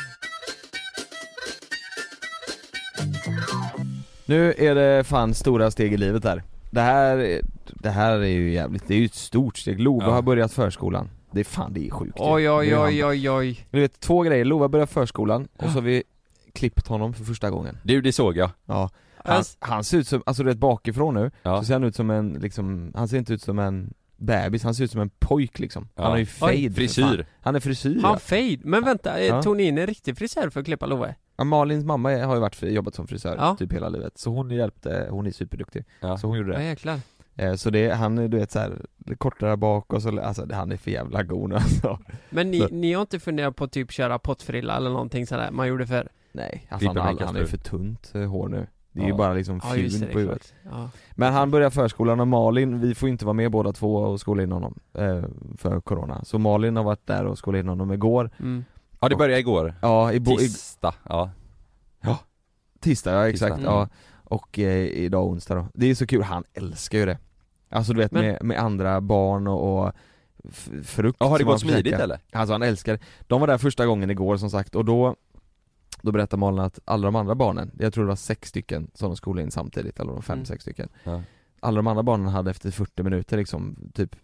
Nu är det fan stora steg i livet här Det här, är- det här är ju jävligt, det är ju ett stort steg. Lova
Ja.
har börjat förskolan Det är fan, det är sjukt ju.
Oj
Det
oj
är
oj oj oj
Du vet, två grejer. Lova börjar förskolan och så har vi klippt honom för första gången.
Du det såg jag
Ja. Han,
Alltså,
han ser ut som, alltså du vet bakifrån nu,
Ja,
så ser han ut som en liksom, han ser inte ut som en bebis, han ser ut som en pojk liksom.
Ja.
Han har ju fade
Oj,
för fan.
frisyr
Han är frisyr
Han
ja.
fade, men vänta, eh,
Ja.
tog ni in en riktig frisör för att klippa Love?
ja. Malins mamma har ju varit, jobbat som frisör
Ja.
typ hela livet, så hon hjälpte, hon är superduktig.
Ja.
Så hon gjorde
Ja
det.
jäklar
Eh, Så det, han är du vet såhär, kortare bak och så, alltså han är för jävla god nu, alltså.
Men ni,
Så-
ni har inte funderat på typ köra pottfrilla eller någonting sådär man gjorde förr?
Nej, alltså,
Klipper
han, han,
Benkas
han är ju
fru.
för tunt eh, hår nu. Det är ju
Ja.
bara liksom
Ja
fjun
just det, det
på
är
huvudet.
klart ja.
Men han börjar förskolan och Malin, vi får inte vara med båda två och skola in honom eh, för corona. Så Malin har varit där och skolat in honom igår.
mm.
Ja det började igår
Ja, i, bo- i
Tisdag, ja
tisdag ja exakt.
Tisdag. Mm.
Ja. Och eh, idag onsdag då. Det är så kul, han älskar ju det. Alltså du vet
Men-
med, med andra barn och, och f- frukt
Ja har det
som
gått
han försöker-
smidigt eller?
Alltså han älskar De var där första gången igår som sagt och då Då berättade Malin att alla de andra barnen, jag tror det var sex stycken som de skolade in samtidigt, eller de fem,
Mm.
sex stycken
Ja.
Alla de andra barnen hade efter 40 minuter liksom typ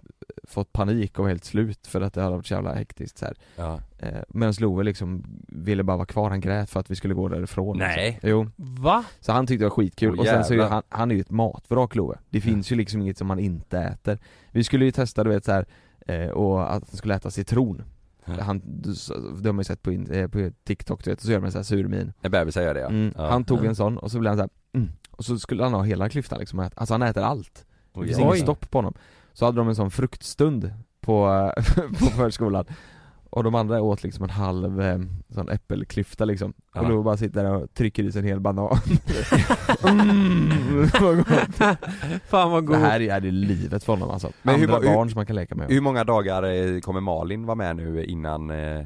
fått panik och var helt slut för att det hade varit så jävla hektiskt så här.
Ja
Eh, Medan Love liksom ville bara vara kvar, han grät för att vi skulle gå därifrån liksom.
Nej.
Jo,
Va?
så han tyckte det var skitkul
Åh,
och sen så är ju
jävlar. Mm.
han, han är ju ett matvrak Love Det finns ju liksom inget som han inte äter Vi skulle ju testa du vet så här, eh, och att han skulle äta citron
Ja.
han, du, så- det har man ju sett på, in, eh, på TikTok du vet, och så gör man så här sur min
När bebisar gör det ja,
mm.
ja.
Han tog
Ja.
en sån och så blev han så här, mm. och så skulle han ha hela klyftan liksom, och äta. alltså han äter allt Det
Oj,
finns
jävlar.
inget stopp på honom Så hade de en sån fruktstund på, på förskolan och de andra åt liksom en halv eh, sån äppelklyfta liksom,
Ja.
och då bara sitter där och trycker i sig en hel banan mm. vad gott.
Fan vad
Det
god
här är, det är livet för honom alltså.
Men hur
Andra
var- hur-
barn som man kan leka med.
Hur många dagar eh, kommer Malin vara med nu innan? eh,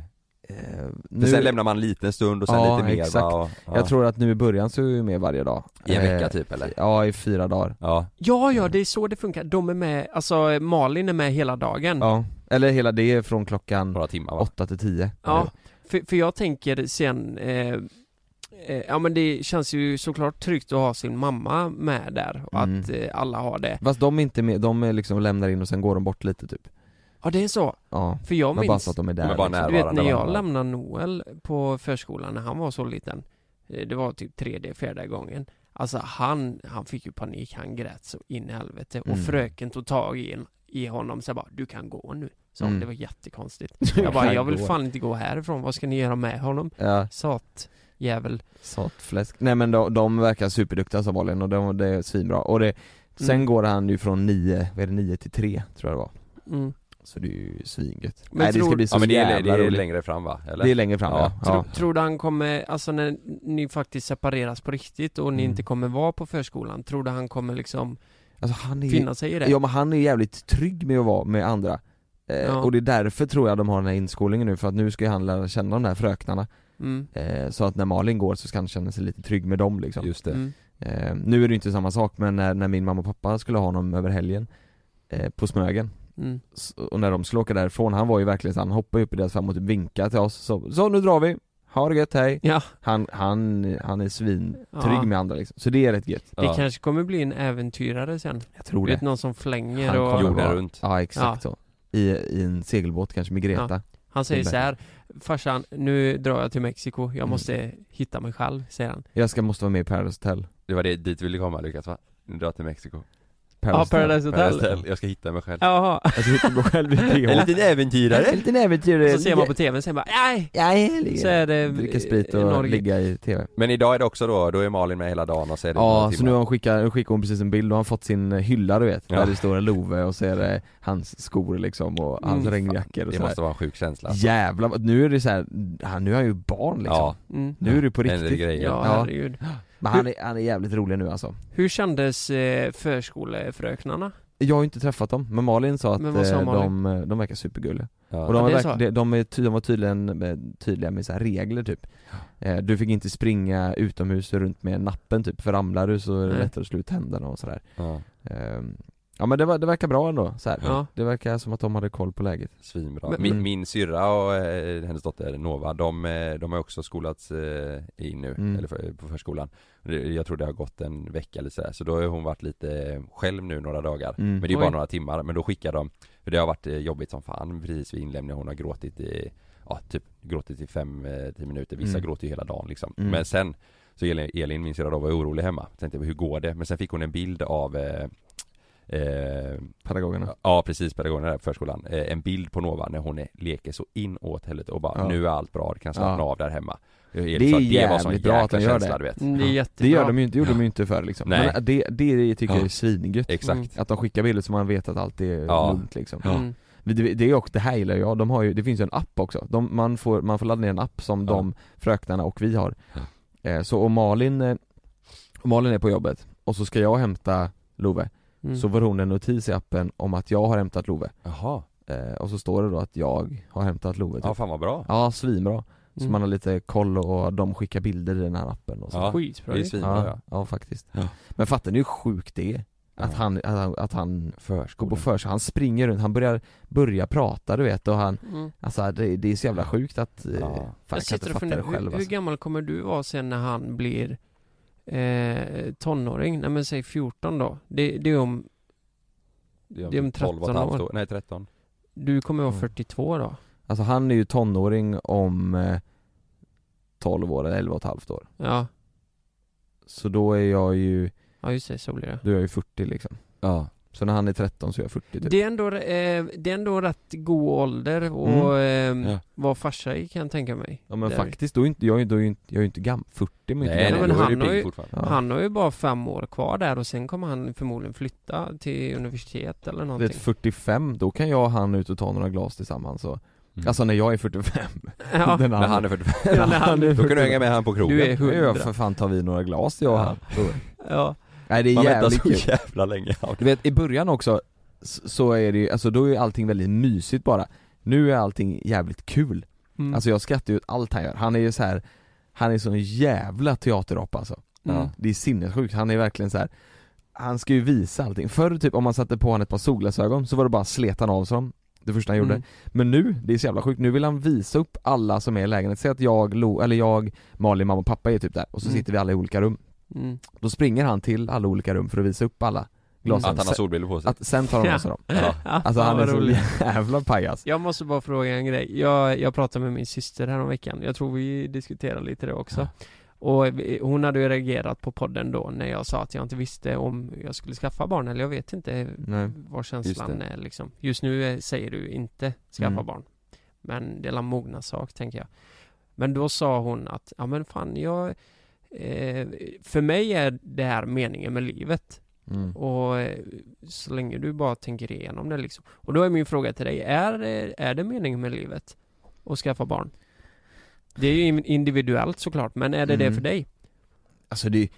Eh,
För
nu,
sen lämnar man en liten stund och sen
Ja,
lite mer
exakt.
va? Och, ja.
Jag tror att nu i början så är vi med varje dag.
I en vecka
Eh,
typ Mm. eller?
Ja, i fyra dagar.
Ja,
Ja ja, det är så det funkar, de är med, alltså eh, Malin är med hela dagen
Ja. Eller hela det är från klockan
några timmar va?
Mm. åtta till tio.
Ja, för, för jag tänker sen, eh, eh, ja men det känns ju såklart tryggt att ha sin mamma med där och
Mm.
att eh, alla har det.
Fast de är inte med, de är liksom lämnar in och sen går de bort lite typ.
Ja det är så,
Ja.
för jag
Men bara
minns,
så att de är där.
De är bara
liksom.
du vet
närvarande,
när jag
va?
lämnade Noel på förskolan när han var så liten, eh, det var typ tredje, fjärde gången. Alltså han, han fick ju panik, han grät så in i helvete och
Mm.
fröken tog tag i, en, i honom så jag bara 'Du kan gå nu' Så
Mm.
det var jättekonstigt.
Du
Jag bara
kan
'Jag vill
gå.
fan inte gå härifrån, vad ska ni göra med honom?'
Ja,
Sat jävel.
satfläsk. Nej men de, de verkar superduktiga som vanligt och de, det är svinbra. Och det, sen
Mm.
går han ju från nio, vad är det, nio till tre tror jag det var.
Mm.
Så det är ju svingött.
Men
Nej det ska
tror-
bli så
Ja men det är, det
jävla
är
roligt.
längre fram va? Eller?
Det är längre fram ja.
Ja.
ja.
Tro, tror du han kommer, alltså när ni faktiskt separeras på riktigt och ni
Mm.
inte kommer vara på förskolan, tror du han kommer liksom
Alltså han är ju,
finna sig i det?
ja men han är jävligt trygg med att vara med andra eh,
Ja.
Och det är därför tror jag de har den här inskolningen nu för att nu ska ju han lära känna de här fröknarna
Mm.
eh, Så att när Malin går så ska han känna sig lite trygg med dem liksom
Just det.
Mm.
eh, Nu är det ju inte samma sak men när, när min mamma och pappa skulle ha honom över helgen eh, På Smögen
Mm.
s- och när de skulle åka därifrån, han var ju verkligen så han hoppade upp i deras fram och typ vinkade till oss så, så nu drar vi, ha det gött, hej!
Ja,
Han, han, han är svintrygg
Ja.
med andra liksom, så det är rätt gött
det
Ja.
kanske kommer bli en äventyrare sen.
Jag tror
Du vet någon som flänger
Oh, Han
och
kommer
Jorden
Ja.
runt.
Ja exakt så I, I en segelbåt kanske med Greta
han säger
Det är
så här Farsan, nu drar jag till Mexiko, jag
Mm.
måste hitta mig själv, säger han.
Jag ska, måste vara med i Paradise Hotel
Det var det, dit vi ville komma Lukas va? Nu drar jag till Mexiko
Ja, Paradise
Paradise
Hotel.
Hotel. Jag ska hitta mig själv
Jaha.
Alltså, Jag ska hitta mig själv i PH
En liten äventyrare!
liten äventyrare
Så ser man på TV, sen bara nej!
Nej,
Så är det eh,
Dricka sprit och
Norge.
ligga i TV
Men idag är det också då, då är Malin med hela dagen och så är det
Ja, så
några
nu har
timmar.
hon skickat, nu skickar hon precis en bild, och har fått sin hylla du vet,
Ja.
där det står Love och så är det hans skor liksom och hans
Mm.
regnjackor och
Det
sådär
måste vara en sjuk känsla
Jävlar, vad- nu är det så här, han, nu är han ju barn liksom
Ja,
Mm.
Nu är det på
det händer
riktigt
Ja,
grejer ja.
herregud.
Men han är, han är jävligt rolig nu alltså
Hur kändes eh, förskolefröknarna?
jag har ju inte träffat dem, men Malin sa att
Men vad sa
eh,
Malin?
de, eh, de verkar supergulliga
Ja.
Och de,
Ja,
var
det är
verk-
så.
de, de, är ty, de var tydligen eh, tydliga med så här regler typ eh, Du fick inte springa utomhus runt med nappen typ, för ramlar du så är det
Nej.
lättare att slå ut tänderna och sådär
ja.
eh, Ja men det, var, det verkar bra ändå så här.
Ja.
Det verkar som att de hade koll på läget
Svinbra.
Men-
Mm.
min, min syrra och eh, hennes dotter Nova, de, eh, de har också skolats eh, in nu,
Mm.
eller för, på förskolan. Det- Jag tror det har gått en vecka eller sådär, så då har hon varit lite själv nu några dagar.
Mm.
Men det är bara
Oj.
några timmar, men då skickar de, för det har varit eh, jobbigt som fan precis vid inlämningen, hon har gråtit i, ja typ gråtit i fem, eh, tio minuter, vissa
Mm.
gråter ju hela dagen liksom.
Mm.
Men sen, så Elin, Elin min syrra då var ju orolig hemma, tänkte hur går det? Men sen fick hon en bild av eh, eh,
Pedagogerna
Ja precis, pedagogerna där på förskolan. Eh, en bild på Nova när hon är, leker så inåt helvete och bara
Ja.
nu är allt bra, det kan slappna
Ja.
av där hemma.
Det är jävligt bra att de gör det.
Du vet.
Mm, Det är jättebra
Det gör de ju inte, gjorde de ju inte förr liksom
Nej.
Men det, det tycker jag
Ja.
är svingött
Exakt.
Mm.
Att de skickar bilder så man vet att allt är
Ja.
lugnt liksom
Ja.
Mm.
Det, det, det, är också, det här gillar jag, de har ju, det finns ju en app också. De, man, får, man får ladda ner en app som
Ja.
de fröknarna och vi har. Eh, så om Malin, eh, om Malin är på jobbet och så ska jag hämta Love,
Mm.
så får hon en notis i appen om att jag har hämtat Love.
Jaha,
Eh, och så står det då att jag har hämtat Love. Typ.
ja
Ja,
fan vad bra.
svinbra. Så
Mm.
man har lite koll och de skickar bilder i den här appen och så.
Ja,
Skitbra
det är
ju.
svinbra
ja,
ja.
ja, faktiskt.
Ja.
Men fattar ni hur sjukt det är? Att
Ja.
han, att han, att han går på
Förskolan.
för sig, han springer runt, han börjar, börjar prata du vet och han
Mm.
Alltså det, det är så jävla sjukt att, eh,
Ja.
fan, jag
Jag
kan
sitter
inte
och
fatta
funderar,
det
hur,
själv
hur
alltså.
gammal kommer du vara sen när han blir eh, tonåring? Nej men säg 14 då. Det, det är om, det är om
12 och
13
ett halvt
år.
Nej 13.
du kommer vara
Mm.
42 då?
alltså han är ju tonåring om eh, 12 år eller 11 och ett halvt år
Ja,
Så då är jag ju,
ja just det, så blir det.
då är jag ju 40 liksom
Ja.
Så när han är 13 så är jag 40 typ
Det är ändå, eh, det är ändå rätt god ålder och eh,
Ja.
vara farsa i kan jag tänka mig.
Mm. Ja men
Där.
faktiskt, då är inte, jag, är- då är ju inte, jag är ju inte gammal, 40 men inte
Nej,
gammal
nej
men
men då
han
är du
har
pigg
ju-
fortfarande.
ja.
Han har ju bara fem år kvar där och sen kommer han förmodligen flytta till universitet eller
Vet
någonting.
45, då kan jag och han ut och ta några glas tillsammans och,
Mm.
Alltså när jag är 45
Ja,
den
När han är 45, då kan du hänga med han på krogen.
du är
Ja, ja,
hundra.
för fan tar vi några glas jag och han
Ja.
Nej det är
Man väntar
jävligt
så
kul
jävla länge. Ja.
Du vet i början också s- så är det ju, alltså då är allting väldigt mysigt bara Nu är allting jävligt kul,
Mm.
alltså jag skrattar ju åt allt han gör, han är ju så här Han är sån jävla teaterapa alltså
Mm.
Det är sinnessjukt, han är verkligen så här. Han ska ju visa allting, förr typ om man satte på han ett par solglasögon så var det bara sletan av sig dem Det första han gjorde,
Mm.
men nu, det är så jävla sjukt, nu vill han visa upp alla som är i lägenheten, säg att jag, Lo, eller jag, Malin, mamma och pappa är typ där och så
Mm.
sitter vi alla i olika rum
Mm.
Då springer han till alla olika rum för att visa upp alla glasögon
Att han har solbrillor på sig.
Alltså, att sen tar de av sig dem.
Ja.
Ja,
Alltså
fan,
han är
vad roligt.
så jävla pajas.
Jag måste bara fråga en grej. Jag, jag pratade med min syster här om veckan. Jag tror vi diskuterade lite det också. Och vi, hon hade ju reagerat på podden då när jag sa att jag inte visste om jag skulle skaffa barn eller jag vet inte
Nej.
vad känslan
Just det.
är liksom. Just nu eh, säger du inte skaffa
Mm.
barn. Men det är en mogna sak tänker jag. Men då sa hon att, ja men fan jag eh, för mig är det här meningen med livet.
Mm.
Och eh, så länge du bara tänker igenom det liksom. Och då är min fråga till dig, är, det- är det meningen med livet? Att skaffa barn? Det är ju in- individuellt såklart, men är det det
Mm.
för dig?
Alltså det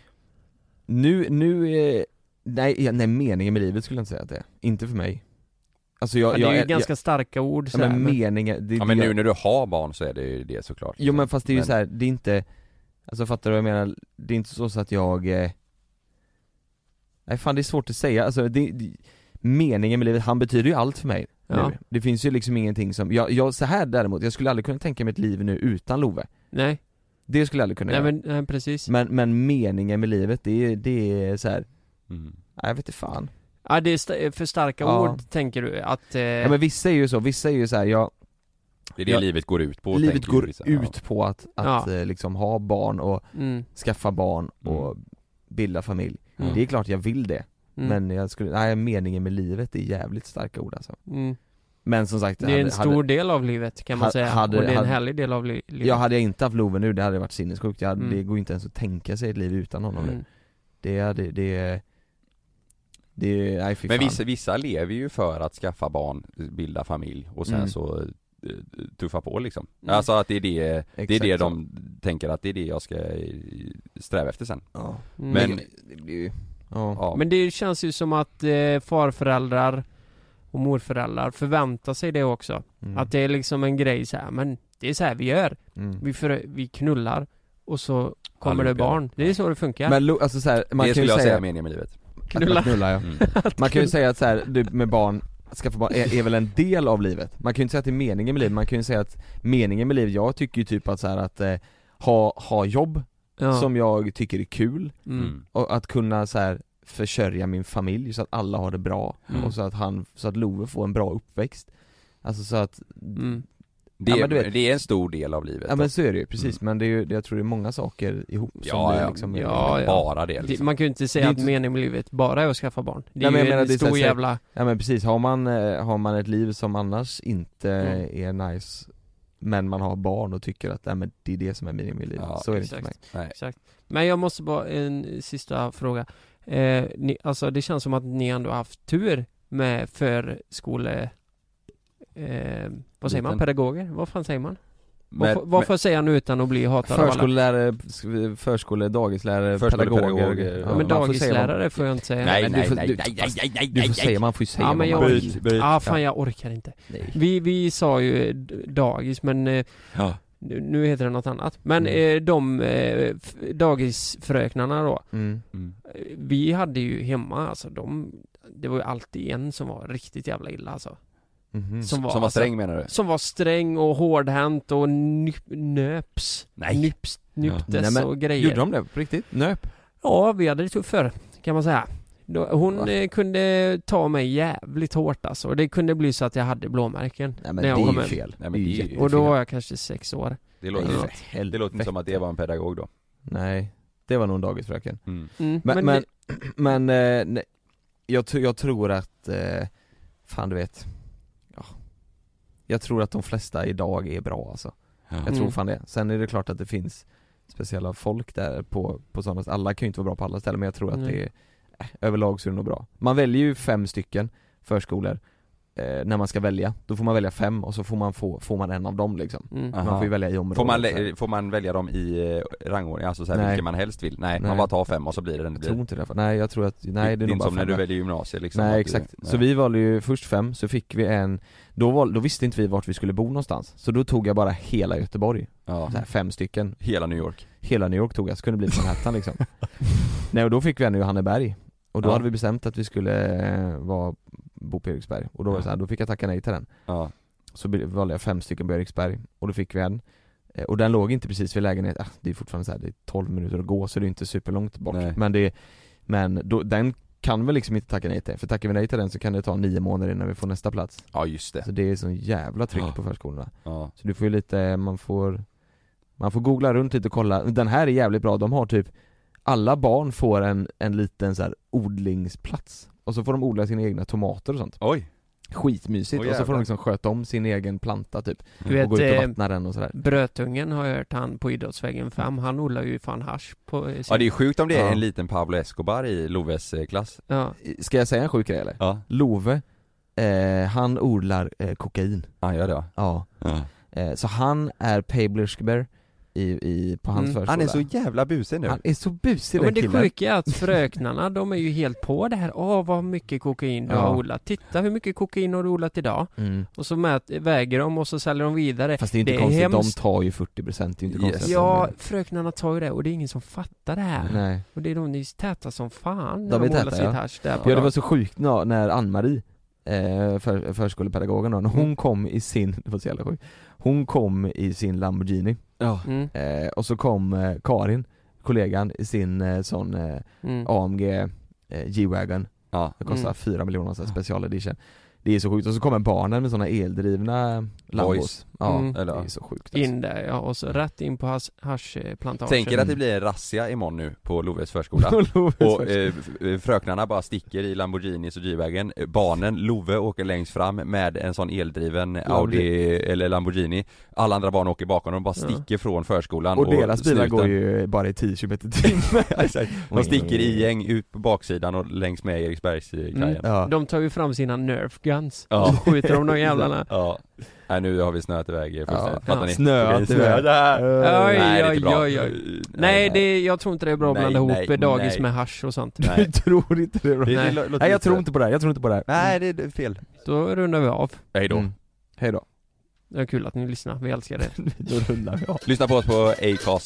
nu, nu, eh, nej, ja, nej meningen med livet skulle jag inte säga att det är. Inte för mig. Alltså jag,
Ja, det
jag
är ju ganska starka ord
jag,
så
ja,
här,
men
men-
meningen, det,
Ja men
det,
nu när du har barn så är det ju det såklart. liksom.
Jo men fast det är ju
Men-
så här, det är inte, alltså fattar du vad jag menar? Det är inte så så att jag eh, Nej fan det är svårt att säga, alltså det, det, meningen med livet, han betyder ju allt för mig
Ja.
nu. Det finns ju liksom ingenting som, jag, jag, så här däremot, jag skulle aldrig kunna tänka mig ett liv nu utan Love
Nej,
Det skulle jag aldrig kunna
nej
göra
men nej, precis.
Men, men meningen med livet, det är, det är så här.
Mm.
Nej, jag vet inte fan.
Ja, det är sta- för starka
Ja.
ord tänker du att... Eh,
Ja, men vissa är ju så, vissa är ju så här, ja,
Det är det
Ja.
livet går ut på.
livet
tänker
går
vissa. Ja.
ut på att, att
Ja.
eh, liksom ha barn och
mm,
skaffa barn
Mm.
och bilda familj.
Ja.
Det är klart jag vill det,
mm,
men jag skulle, nej meningen med livet är jävligt starka ord alltså.
mm.
Men som sagt,
Det är en
hade,
stor
hade,
del av livet kan man
Ha-
säga,
hade-
och det är en
hade-
härlig del av li- livet.
jag hade jag inte haft Love nu, det hade varit sinnessjukt. Jag, hade-
Mm.
Det går inte ens att tänka sig ett liv utan honom nu.
mm.
Det, hade- det, det, nej fy
Men
fan.
vissa, vissa lever ju för att skaffa barn, bilda familj och sen
Mm.
så eh, tuffa på liksom.
Mm.
Alltså att det är det, det är
Exakt
det
så.
de tänker att det är det jag ska eh, sträva efter sen.
Ja.
Mm.
Men-
det blir ju- Ja.
Ja.
Men det känns ju som att eh, farföräldrar och morföräldrar förväntar sig det också.
Mm.
Att det är liksom en grej så här, men det är så här vi gör.
Mm.
Vi, för, vi knullar och så kommer det
Allihopa.
barn. Det är så det funkar.
Men lo- alltså så här, man
det
kan
skulle
ju
jag
säga,
säga är
att
meningen med livet.
man
knulla.
knullar ja.
Mm.
Man kan ju säga att så här, du med barn, att skaffa barn är, är väl en del av livet. Man kan ju inte säga att det är meningen med livet, man kan ju säga att meningen med livet, jag tycker ju typ att så här, att eh, ha, ha jobb
Ja.
som jag tycker är kul
Mm.
och att kunna så här försörja min familj så att alla har det bra
Mm.
och så att han, så att Love får en bra uppväxt. Alltså så att,
Mm.
Det,
Ja,
är
men du vet-
det är en stor del av livet.
ja men så är det ju precis
Mm.
men det är ju, det- jag tror det är många saker ihop som
Ja,
blir
ja.
liksom är-
Ja, ja.
Bara det liksom.
Det, man kan ju inte säga
Det är
att
inte-
meningen med livet bara är att skaffa barn. Det är
Nej, men jag
ju
menar,
en
det är så
stor
här-
jävla...
Ja men precis, har man, eh, har man ett liv som annars inte är nice men man har barn och tycker att nej, men det är det som är meningen med livet,
Ja,
så är det inte
exakt.
för mig
Nej.
Exakt. Men jag måste bara, en sista fråga. Eh, ni, alltså det känns som att ni ändå har haft tur med för skole... Eh, vad säger man?
Liten.
Pedagoger? Vad fan säger man?
Men-
vad, får- vad får jag säga nu utan att bli hatad av alla?
Förskollärare, sk- förskole, dagislärare,
Förskolepedagoger,
pedagoger,
ja.
Ja, men
man får säga vad-
dagislärare får jag inte säga.
men- Nej,
men du
nej,
får-
nej,
du-
nej, nej, nej, nej,
Du får
nej.
säga, man får ju säga
Ja,
vad
men
man
jag-
vill.
Byt, Ah fan jag orkar inte.
Nej.
Vi, vi sa ju d- dagis men eh,
Ja.
nu nu heter det något annat. Men
Mm.
eh, de eh, f- dagisfröknarna då.
Mm.
Mm.
eh, Vi hade ju hemma alltså de, det var ju alltid en som var riktigt jävla illa alltså.
Mhm.
Som var,
Som var sträng menar du?
Alltså, som var sträng och hårdhänt och nyp, nöps.
Nej.
Nyps, nyptes
Nej, men
och grejer.
Gjorde de det på riktigt? Nöp?
Ja, vi hade det tufft förr, kan man säga. Då- Hon
Va?
eh, kunde ta mig jävligt hårt alltså. Det kunde bli så att jag hade blåmärken
Nej
när jag
det är
kom
ju
hem.
fel,
Nej, men det är ju
Och då var jag kanske sex år.
Det
Nej,
låter,
Ja.
för helvete.
det låter inte som att det var en pedagog då.
Nej, det var nog en dagisfröken
Mm.
Mm,
Men,
men,
men,
det-
men eh, nej, jag, tr- jag tror att, eh, fan du vet, ja. Jag tror att de flesta idag är bra alltså. Jag tror
Mm.
fan det. Sen är det klart att det finns speciella folk där på, på sådana, alla kan ju inte vara bra på alla ställen men jag tror att
Nej.
det är, eh, överlag så är det nog bra. Man väljer ju fem stycken förskolor eh, när man ska välja, då får man välja fem och så får man, få, får man en av dem liksom.
mm.
Ja.
Man
Aha.
får ju välja i området.
Får man,
så här.
lä- får man välja dem i eh, rangordning, alltså så här,
Nej.
vilken man helst vill? Nej,
Nej.
man bara tar fem och så blir det den det
jag
blir.
tror inte det, nej jag tror att, nej det är nog
inte
bara
som när
fem
du
där.
väljer gymnasiet liksom. att
Nej
du-
exakt,
nej.
så vi valde ju först fem, så fick vi en då, val, då visste inte vi vart vi skulle bo någonstans, så då tog jag bara hela Göteborg,
ja.
så här fem stycken
Hela New York.
Hela New York tog jag, så kunde det bli Manhattan liksom Nej och då fick vi en i Johanneberg, och då
Ja.
hade vi bestämt att vi skulle eh, vara, bo på Eriksberg, och då var det så här, då fick jag tacka nej till den
Ja.
Så be- valde jag fem stycken på Eriksberg, och då fick vi en Eh, och den låg inte precis vid lägenheten, ah, det är fortfarande så här, det är 12 minuter att gå så det är inte superlångt bort
Nej.
Men det, men då, den kan vi liksom inte tacka nej till, för tackar vi nej till den så kan det ta nio månader innan vi får nästa plats
ja, just det.
Så det är sån jävla tryck
Ja.
på förskolorna
Ja.
Så du får ju lite, man får Man får googla runt lite och kolla, den här är jävligt bra, de har typ Alla barn får en, en liten så här odlingsplats Och så får de odla sina egna tomater och sånt
Oj!
Skitmysigt,
Åh,
och så får
jävlar.
de liksom sköta om sin egen planta typ
du
Och gå ut och
vet, eh,
vattna den och sådär
Brötungen har jag hört han på Idrottsvägen 5, han odlar ju fan hasch på eh, sin...
Ja det är sjukt om det är
Ja.
en liten Pablo Escobar i Loves eh, klass.
ja.
Ska jag säga en sjuk grej eller?
Ja,
Love, eh, han odlar eh, kokain
han gör det va?
Ja, eh, så han är Pablerskber i, i, på hans
Mm.
förskola
Han är så jävla busig nu.
Han är så busig
Ja,
den
men det
killen
sjuka är att fröknarna, de är ju helt på det här. Åh, vad mycket kokain du
Ja.
har odlat. Titta hur mycket kokain har du odlat idag.
mm.
Och så mät, väger de och så säljer de vidare.
Fast det är inte
Det är
konstigt,
hemskt.
de tar ju 40% det är inte
Yes.
konstigt att
Ja, äh.
de-
fröknarna tar ju det och det är ingen som fattar det här.
Nej.
Och det är de, de är täta som fan
De
när
är
de odlar
täta,
sitt
ja.
hasch där på
Ja det var
dagen.
så sjukt när, när Ann-Marie, eh, för, förskolepedagogen då, när
Mm.
hon kom i sin, det var så jävla sjukt Hon kom i sin Lamborghini,
Mm,
eh, och så kom eh, Karin, kollegan, i sin eh, sån eh,
mm.
AMG eh, G-Wagon
Ja.
Det kostar
Mm.
4 miljoner så här specialedition Det är så sjukt, och så kommer barnen med såna eldrivna Lambos Ja,
Mm.
det
Eller, ja.
är så sjukt alltså.
In där ja, och så rätt in på hasch- haschplantagen. Mm.
Tänk er att det blir en razzia imorgon nu på Loves förskola. Och eh, f- fröknarna bara sticker i Lamborghinis och G-vägen Barnen, Love åker längst fram med en sån eldriven Audi eller Lamborghini Alla andra barn åker bakom, de bara
Ja.
sticker från förskolan
och, deras bilar
snuten.
går ju bara i 10 km i timmen
Exakt. De sticker i gäng ut på baksidan och längs med Eriksbergskajen
Mm.
Ja.
De tar ju fram sina nerf guns.
Ja.
Skjuter de de jävlarna.
Ja, Nej nu har vi snöat iväg fullständigt,
Ja.
fattar ni?
Snöat
Okej,
iväg.
där.
Oj,
Nej, det är
oj,
inte bra.
oj, oj.
Nej,
Nej, det, jag tror inte det är bra att
Nej,
blanda ihop
nej,
dagis
nej.
med hasch och sånt.
Nej.
Du tror inte det
Det-
bra?
det
Nej.
lå- låter
Nej jag
lite-
tror inte på det här, jag tror inte på det här
Nej det det är fel.
Då rundar vi av.
Hej då.
Mm. Hejdå
Det är kul att ni lyssnar, vi älskar det.
Då rullar vi av
Lyssna på oss på Acast.